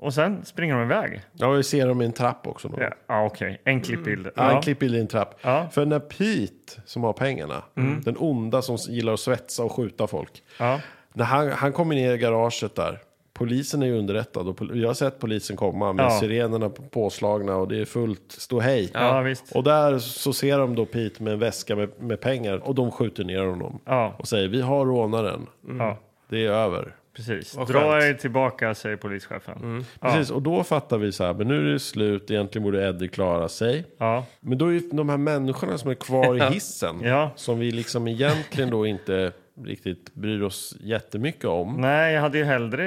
S2: Och sen springer de iväg.
S3: Ja, vi ser dem i en trapp också. Då.
S2: Ja, ja okej. En klippbild.
S3: Mm. Ja.
S2: Ja.
S3: Han klipper i en trapp.
S2: Ja. Mm.
S3: För när Pete, som har pengarna, den onda som gillar att svetsa och skjuta folk.
S2: Ja.
S3: När han, han kommer ner i garaget där Polisen är ju underrättad och pol- jag har sett polisen komma med
S2: Ja.
S3: sirenerna p- påslagna och det är fullt ståhej.
S2: Ja, visst.
S3: Och där så ser de då Pete med en väska med, med pengar och de skjuter ner honom
S2: Ja.
S3: och säger vi har rånaren,
S2: Ja,
S3: det är över.
S2: precis.
S1: Vad
S2: Dra
S1: skönt.
S2: er tillbaka, säger polischefen.
S3: Mm. Precis, och då fattar vi så här, men nu är det slut, egentligen borde Eddie klara sig.
S2: Ja.
S3: Men då är ju de här människorna som är kvar i hissen,
S2: (laughs) Ja.
S3: som vi liksom egentligen då inte riktigt bryr oss jättemycket om.
S2: Nej, jag hade ju hellre...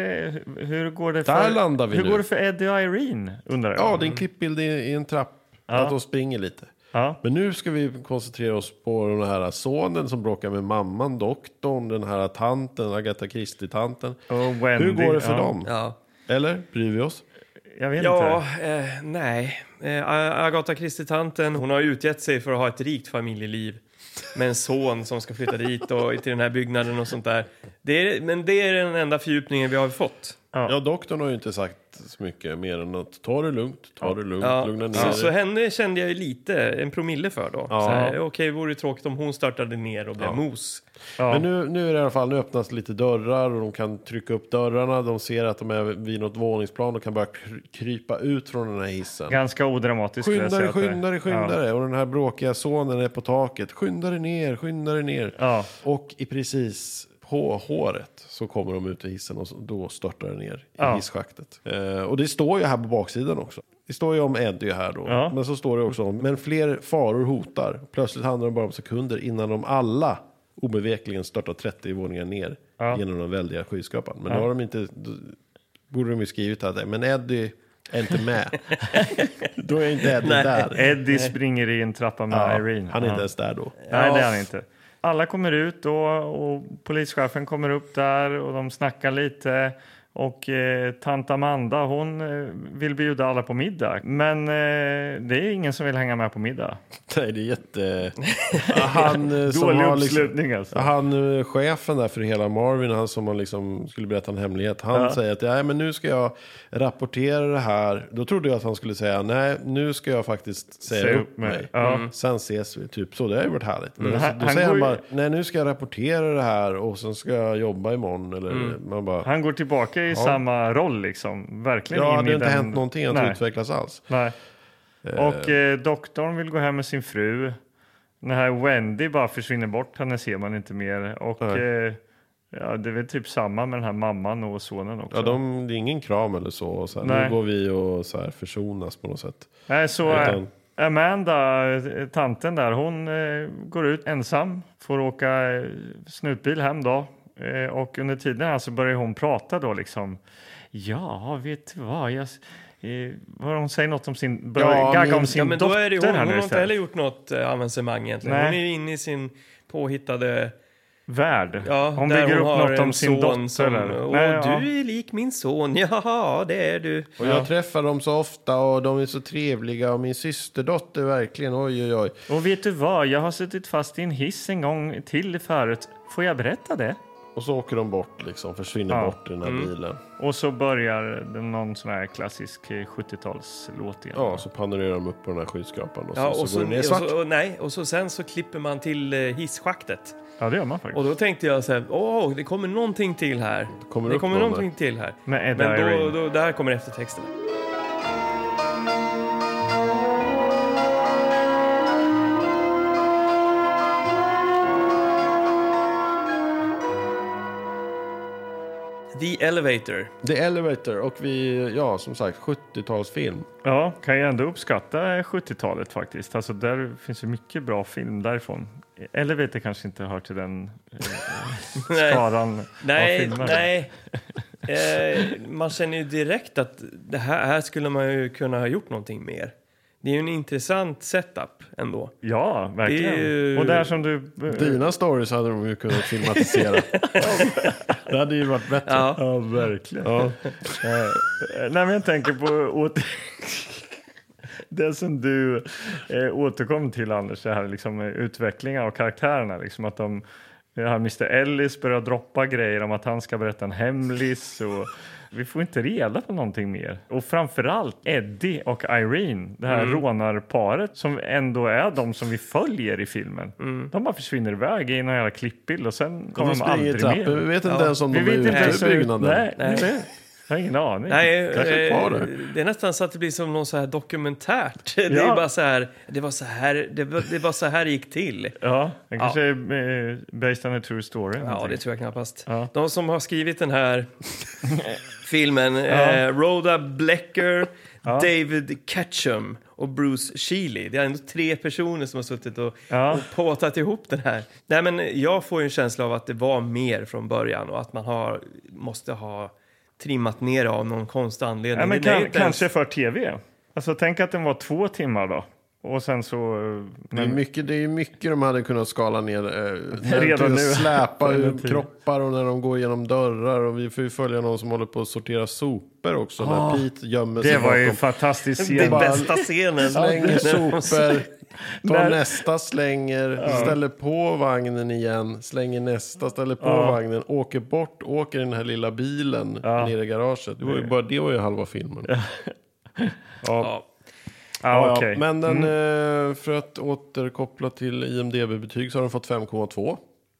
S2: Hur går det
S3: Där
S2: för,
S3: landar vi
S2: hur
S3: nu.
S2: går det för Eddie och Irene, undrar jag.
S3: Ja, det är en klippbild i, i en trapp, att de springer lite.
S2: Ja.
S3: Men nu ska vi koncentrera oss på den här sonen som bråkar med mamman, doktorn, den här tanten, Agatha Christie-tanten.
S2: Och Oh, Wendy,
S3: Hur går det för
S2: ja.
S3: dem?
S1: Ja,
S3: Eller? Bryr vi oss?
S2: Jag vet
S1: ja
S2: inte.
S1: eh, nej. Eh, Agatha Christie-tanten, hon har utgett sig för att ha ett rikt familjeliv med en son som ska flytta dit och till den här byggnaden och sånt där. Det är, men det är den enda fördjupningen vi har fått.
S3: Ja, doktorn har ju inte sagt så mycket mer än att ta det lugnt, ta det lugnt,
S1: Ja,
S3: lugna ner
S1: så,
S3: dig.
S1: så henne kände jag ju lite, en promille för då.
S3: Ja.
S1: Så här, Okej, vore det tråkigt om hon störtade ner och blev mos.
S2: Ja.
S3: Men nu, nu är det i alla fall, nu öppnas lite dörrar och de kan trycka upp dörrarna. De ser att de är vid något våningsplan och kan börja kry- krypa ut från den här hissen.
S2: Ganska odramatiskt. skulle
S3: Skynda
S2: jag
S3: dig,
S2: säga att det-
S3: skynda dig, skynda dig. Och den här bråkiga sonen är på taket. Skynda dig ner, skynda dig ner.
S2: Ja.
S3: Och i precis på håret så kommer de ut i hissen och så- då störtar det ner i
S2: Ja.
S3: hisschaktet. Eh, och det står ju här på baksidan också. Det står ju om Eddie här då.
S2: Ja.
S3: Men så står det också om, men fler faror hotar. Plötsligt handlar det bara om sekunder innan de alla obevekligen störtar 30 våningar ner
S2: Ja.
S3: genom den väldiga skyskrapan. Men då har de inte, då borde de ju skrivit att men Eddie är inte
S2: (laughs)
S3: med. då är inte Eddie där.
S2: Ja. Eddie springer i en trappa med
S3: Ja,
S2: Irene.
S3: Han är
S2: Ja.
S3: inte ens där då.
S2: Nej, det är han inte. Alla kommer ut då och polischefen kommer upp där och de snackar lite. Och eh, tant Amanda hon eh, vill bjuda alla på middag. Men eh, det är ingen som vill hänga med på middag.
S3: Nej, det
S2: (laughs)
S3: är jätte... Han, eh, som
S2: Dålig
S3: har liksom,
S2: uppslutning alltså.
S3: han eh, chefen där för hela Marvin, han som har liksom skulle berätta en hemlighet, han säger att nej, men nu ska jag rapportera det här. Då trodde jag att han skulle säga nej, nu ska jag faktiskt säga
S2: Säg
S3: upp mig. Mm.
S2: Ja. Mm.
S3: Sen ses vi, typ så. Det har ju varit härligt. Men
S2: han-
S3: då
S2: han
S3: säger han
S2: går
S3: bara,
S2: ju-
S3: nej nu ska jag rapportera det här och sen ska jag jobba imorgon. Eller,
S2: Mm.
S3: man bara,
S2: Han går tillbaka i samma roll liksom. Verkligen
S3: ja,
S2: in
S3: det
S2: i
S3: har inte
S2: den...
S3: hänt någonting, jag har
S2: Nej.
S3: inte utvecklats alls.
S2: Nej. Och eh, doktorn vill gå hem med sin fru. Den här Wendy bara försvinner bort, henne ser man inte mer. Och
S3: Nej.
S2: eh, ja, det är väl typ samma med den här mamman och sonen också.
S3: Ja, de, det är ingen kram eller så. Och så här,
S2: Nej.
S3: nu går vi och så här, försonas på något sätt.
S2: Nej, så eh,
S3: Utan-
S2: Amanda, eh, tanten där, hon eh, går ut ensam. Får åka eh, snutbil hem då. Eh, och under tiden här så börjar hon prata då liksom. Ja, vet du vad? Jag, s- eh, vad hon säger något om sin, börjar
S3: Ja,
S2: gagga
S3: men-
S2: om sin
S1: Ja, men då
S2: dotter
S1: är det ju,
S2: här
S1: hon, hon
S2: nu
S1: har inte
S2: istället.
S1: heller gjort något eh, avancemang egentligen.
S2: Nej.
S1: Hon är ju inne i sin påhittade...
S2: värld.
S1: Ja,
S2: hon
S1: där
S2: bygger upp
S1: har
S2: något om
S1: en son
S2: sin dotter.
S1: Som,
S2: eller?
S1: Åh,
S2: Nej, ja.
S1: du är lik min son. (laughs) Jaha, det är du.
S3: Och jag träffar dem så ofta och de är så trevliga och min systerdotter verkligen, oj oj oj.
S2: Och vet du vad? Jag har suttit fast i en hiss en gång till förut. Får jag berätta det?
S3: Och så åker de bort liksom, försvinner
S2: Ja. Mm.
S3: bort i den här bilen.
S2: Och så börjar det någon sån här klassisk eh, 70-talslåt igen.
S3: Ja, så panorerar de upp på den här skyskrapan och,
S1: Ja,
S3: så,
S1: och,
S3: så
S1: så,
S3: går det ner
S1: och,
S3: svart.
S1: så, och, nej, och så sen så klipper man till eh, hisschaktet.
S2: Ja, det gör man faktiskt.
S1: Och då tänkte jag så här, åh, det kommer någonting till här.
S3: kommer
S1: det
S3: upp
S1: kommer
S3: någon
S1: någonting till här.
S2: Med Ed
S1: Men då,
S2: Irene.
S1: då, där kommer eftertexterna. The Elevator.
S3: The Elevator och vi, ja som sagt 70-talsfilm.
S2: Ja, kan jag ändå uppskatta 70-talet faktiskt. Alltså, där finns ju mycket bra film därifrån. Eller vet jag kanske inte hör till den
S1: Nej.
S2: skaran av
S1: Nej,
S2: filmer.
S1: nej. Eh, man känner ju direkt att det här, här skulle man ju kunna ha gjort någonting mer. Det är ju en intressant setup ändå.
S2: Ja, verkligen.
S1: Det är ju-
S2: Och där som du...
S3: Dina stories hade de ju kunnat filmatisera.
S2: (laughs)
S3: det hade ju varit bättre.
S1: Ja.
S3: verkligen.
S2: Eh, Nej, men jag tänker på åter... (laughs) det som du eh, återkom till, Anders, det här liksom, eh, utvecklingen av karaktärerna. Liksom, att de, det här Mr Ellis börjar droppa grejer om att han ska berätta en hemlis. Och, vi får inte reda på någonting mer. Och framförallt Eddie och Irene, det
S3: Mm.
S2: här rånarparet som ändå är de som vi följer i filmen. De bara försvinner iväg i någon jävla klippbild och sen kommer
S3: Mm. De
S2: de
S3: springer i
S2: aldrig
S3: trappor, vi
S2: mer.
S3: vet inte ens om
S2: Vi
S3: de är
S2: vet inte
S3: ute
S2: ens
S3: ur
S2: hur...
S3: byggnaden.
S2: Nej,
S1: Nej.
S2: nej. Jag har ingen aning.
S1: Nej,
S3: Kanske
S1: eh,
S3: kvar där.
S1: det är nästan så att det blir som någon så här dokumentärt. (laughs) Det
S2: Ja.
S1: är bara så här, det var så här det var, det var så här det gick till.
S2: Ja, det kanske är eh, based on a true story.
S1: Ja,
S2: någonting.
S1: det tror jag knappast.
S2: Ja.
S1: De som har skrivit den
S2: (laughs)
S1: här filmen, eh, Rhoda Blecker, David Ketchum och Bruce Shealy. Det är ändå tre personer som har suttit och,
S2: Ja.
S1: och påtat ihop den här. Nej, men jag får ju en känsla av att det var mer från början och att man har, måste ha trimmat ner av någon konstig anledning.
S2: Nej, men
S1: Det är
S2: kan,
S1: inte ens-
S2: kanske för tv. Alltså, tänk att den var två timmar då. Och sen så... eh,
S3: Det är ju mycket, det är ju mycket de hade kunnat skala ner. Eh, när
S2: Redan
S3: de
S2: nu. (laughs)
S3: Släpa
S2: Redan
S3: ur
S2: tid.
S3: kroppar och när de går genom dörrar. Och vi får ju följa någon som håller på att sortera sopor också. När Pete gömmer sig
S2: Ah, Det var ju en
S3: bakom.
S2: fantastisk
S1: Det är
S2: scen.
S3: bara-
S1: bästa scenen.
S2: (laughs)
S3: Slänger sopor, tar
S2: När-
S3: nästa, slänger, ställer på vagnen igen, slänger nästa, ställer på vagnen, åker bort, åker i den här lilla bilen ner i garaget. Det var ju bara det var ju halva filmen.
S1: Ja.
S2: Ja, okej. Mm.
S3: Men den, eh, för att återkoppla till IMDB-betyg så har den fått 5,2.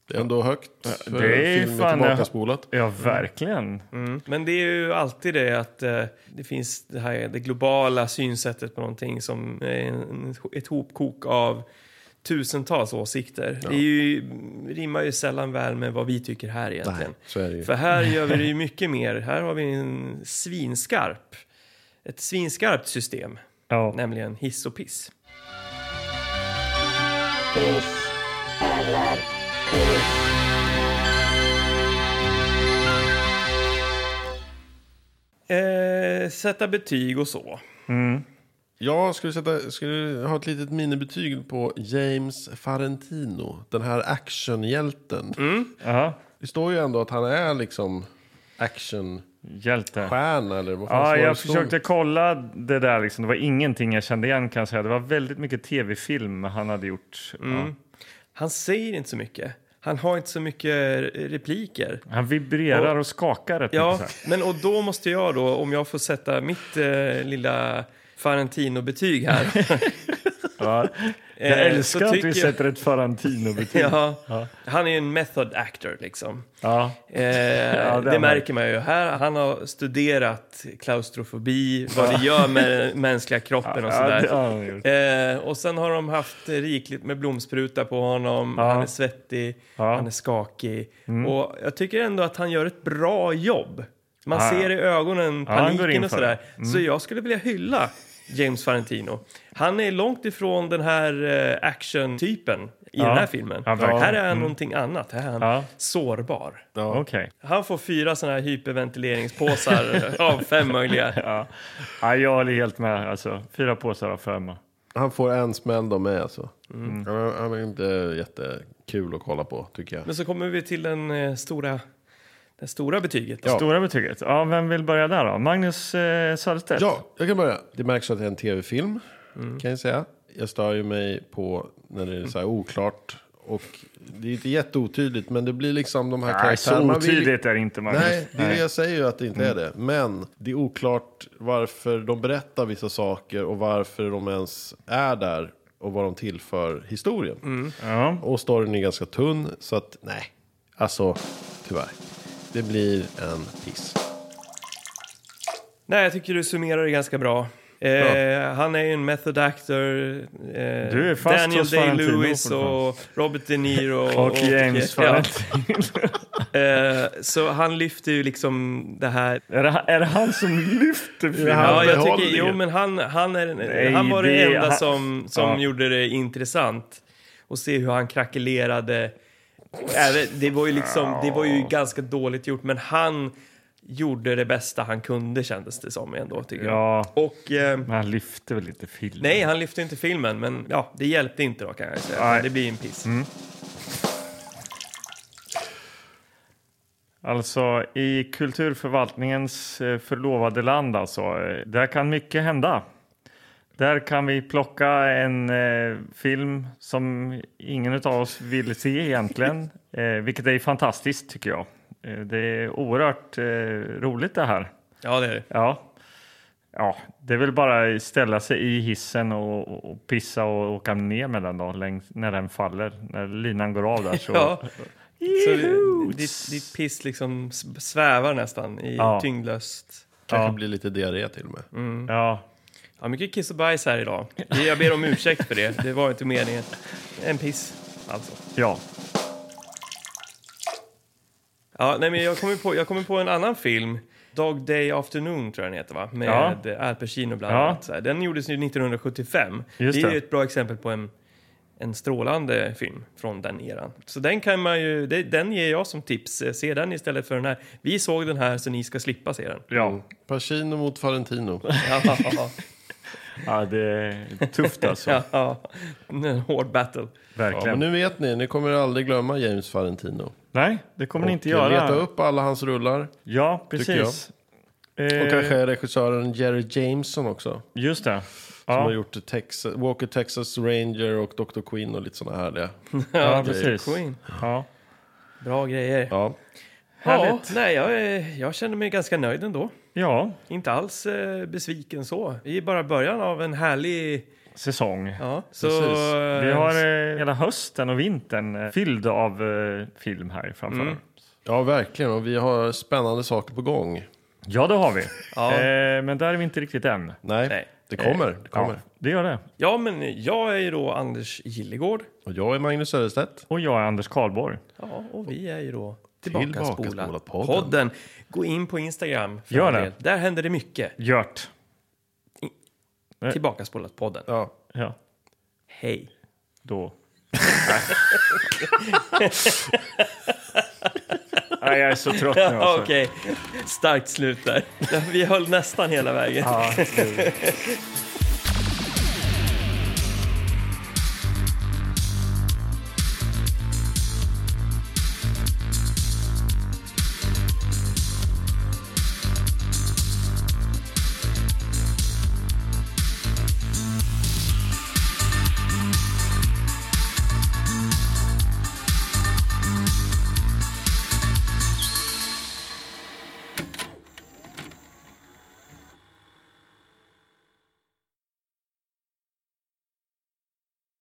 S3: Det är ändå högt. för
S2: det är
S3: filmen
S2: fan-
S3: tillbakaspolat.
S2: Ja, verkligen.
S1: Men det är ju alltid det att eh, det finns det här det globala synsättet på någonting som är en, ett hopkok av tusentals åsikter. Det är ju, rimmar ju sällan väl med vad vi tycker här egentligen.
S3: så är det ju.
S1: För här gör vi det
S3: (laughs)
S1: ju mycket mer. Här har vi en svinskarp, ett svinskarpt system,
S2: Ja.
S1: nämligen hiss och piss. Eh, sätta betyg och så.
S3: Jag skulle, sätta, skulle ha ett litet minibetyg på James Farentino. Den här actionhjälten.
S2: Mm. Jaha.
S3: Det står ju ändå att han är liksom actionstjärna
S2: Hjälte.
S3: eller vad fan
S2: Ja,
S3: står det
S2: jag
S3: stod?
S2: försökte kolla det där. Liksom. Det var ingenting jag kände igen. Kan jag säga. Det var väldigt mycket tv-film han hade gjort. Ja.
S1: Han säger inte så mycket. Han har inte så mycket repliker.
S2: Han vibrerar och skakar rätt
S1: Ja,
S2: mycket. Så här.
S1: men och då måste jag då, om jag får sätta mitt eh, lilla Farentino-betyg här.
S2: Ja.
S1: (laughs) eh,
S2: Jag
S1: så
S2: älskar att
S1: tycker
S2: du
S1: jag-
S2: sätter ett Farantino-betyg. Ja.
S1: (laughs) Ja, han är en method actor liksom.
S2: Ja.
S1: Eh,
S2: är
S1: det
S2: han.
S1: märker man ju. Här, han har studerat klaustrofobi, vad det gör
S2: (laughs)
S1: med mänskliga kroppen och
S2: Ja,
S1: sådär.
S2: det har han gjort.
S1: Eh, och sen har de haft rikligt med blomspruta på honom. Han är svettig,
S2: Ja. Mm.
S1: han är skakig. Och jag tycker ändå att han gör ett bra jobb. Man ser i ögonen
S2: han går
S1: paniken
S2: in
S1: och
S2: för Mm.
S1: sådär. Så jag skulle vilja hylla James Farentino. Han är långt ifrån den här eh, action-typen i den här filmen.
S2: Ja, verkligen. Mm.
S1: här är han någonting annat. Här är han
S2: Ja.
S1: sårbar.
S2: Okej.
S1: Han får fyra sådana här
S2: (laughs)
S1: hyperventileringspåsar av fem möjliga.
S2: Ja, jag håller helt med. Alltså, fyra påsar av fem.
S3: Han får en smäll då med alltså.
S2: Mm.
S3: Han, han är inte jättekul att kolla på tycker jag.
S1: Men så kommer vi till den eh, stora, det stora betyget. då.
S2: Stora betyget. Ja, vem vill börja där då? Magnus eh, Söderstedt?
S3: (laughs) Ja, jag kan börja. Det märks att det är en tv-film kan jag säga. Jag stör ju mig på när det är så här oklart. Och det är inte jätteotydligt men det blir liksom de här
S2: Nej, så
S3: Man vill-
S2: otydligt Mm. är det inte, Magnus.
S3: Nej, det är det jag säger ju att det inte är det. Men det är oklart varför de berättar vissa saker och varför de ens är där och vad de tillför historien.
S2: Ja.
S3: Och storyn är ganska tunn, så att nej. Alltså, tyvärr. Det blir en piss.
S1: Nej, jag tycker du summerar det ganska bra. Eh, Han är ju en method actor. Eh,
S2: Du är fast
S1: Daniel
S2: hos Tarantino
S1: Day-Lewis
S2: fortfarande.
S1: och Robert De Niro. och,
S2: (laughs) Och James
S1: ja.
S2: Farantino.
S1: Eh, Så han lyfter ju liksom det här.
S2: (laughs) Är, det, är det han som lyfter filmen?
S3: han
S1: Ja, jag tycker,
S3: behåller
S1: jo,
S3: det.
S1: men han, han, är,
S2: Nej,
S1: han var
S2: det-
S1: den enda
S2: han-
S1: som, som
S2: Ja.
S1: gjorde det intressant. Och se hur han krackelerade. Även- Det var, ju liksom, det var ju ganska dåligt gjort, men han gjorde det bästa han kunde kändes det som ändå, tycker jag.
S2: Ja,
S1: Och, eh,
S2: men han lyfter väl inte filmen?
S1: Nej, han lyfte inte filmen, men ja, det hjälpte inte då kan jag säga.
S2: Nej. Mm.
S1: Det blir en piss.
S2: Alltså, i kulturförvaltningens eh, förlovade land alltså, eh, där kan mycket hända. Där kan vi plocka en eh, film som ingen av oss vill se
S1: (laughs)
S2: egentligen, eh, vilket är fantastiskt tycker jag. Eh, det är oerhört eh, roligt det här.
S1: Ja, det är det.
S2: Ja. ja, det är väl bara ställa sig i hissen och, och- och pissa och åka ner med den då, längs, när den faller. När linan går av där så
S1: (laughs) Ja. Så det- ditt, ditt piss liksom s- svävar nästan i
S2: Ja.
S1: tyngdlöst.
S3: Kanske
S2: Ja.
S3: blir lite diarré till och med.
S2: Ja.
S1: Ja, mycket kiss och bajs här idag. Jag ber om ursäkt för det. Det var inte meningen. En piss, alltså.
S2: ja.
S1: Ja, nej, men jag kommer på, jag kommer på en annan film. Dog Day Afternoon tror jag den heter va? Med Al Pacino bland
S2: Ja.
S1: annat. Så här, Den gjordes ju 1975.
S2: Just
S1: det är
S2: det.
S1: ju ett bra exempel på en, en strålande film från den eran. Så den kan man ju, det, den ger jag som tips. Eh, Se den istället för den här. Vi såg den här så ni ska slippa se den.
S2: (laughs) Ja.
S3: Pacino mot Valentino.
S1: Ja,
S2: ja, det är tufft alltså.
S1: ja, ja. En hård battle.
S3: Ja, men
S2: Verkligen.
S3: nu vet ni, ni kommer aldrig glömma James Valentino.
S2: Nej, det kommer ni inte
S3: Och
S2: göra.
S3: Leta upp alla hans rullar.
S2: Ja,
S3: tycker jag.
S2: precis. Eh,
S3: Och kanske regissören Jerry Jameson också.
S2: Just det.
S3: Som
S2: Ja,
S3: har gjort Texas, Walker Texas Ranger och Dr. Queen och lite sådana härliga.
S2: ja,
S1: Dr.
S2: precis.
S1: Queen.
S2: Ja.
S1: Bra grejer. Ja,
S3: Ja.
S2: Härligt.
S1: nej, jag, är- jag känner mig ganska nöjd ändå.
S2: ja,
S1: Inte alls eh, besviken så. Vi är bara början av en härlig...
S2: säsong.
S1: Ja, så,
S3: Precis.
S2: Vi har eh, hela hösten och vintern eh, fylld av eh, film här framför mm.
S3: ja, verkligen. Och vi har spännande saker på gång.
S2: Ja, det
S3: (laughs)
S2: har vi.
S1: Ja.
S2: Eh, men där är vi inte riktigt än.
S3: Nej,
S1: Nej.
S3: det kommer. Det kommer.
S2: Eh, Ja, det gör det.
S1: Ja, men jag är ju då Anders Gillegård.
S3: Och jag är Magnus Söderstedt.
S2: Och jag är Anders Karlborg.
S1: Ja, och vi är ju då
S3: Tillbakaspolat
S1: Tillbakaspolat-podden.
S3: podden.
S1: Podden. Gå in på Instagram. för
S2: Gör
S1: all
S2: det.
S1: del. Där händer det mycket.
S2: Gört.
S1: Tillbakaspolat-podden.
S3: Ja.
S2: Ja,
S1: Hej.
S2: då. (laughs) Nej, jag är så trött
S1: (laughs)
S2: nu alltså.
S1: Okej, starkt slut där. Vi höll nästan hela vägen.
S2: Ja, gud.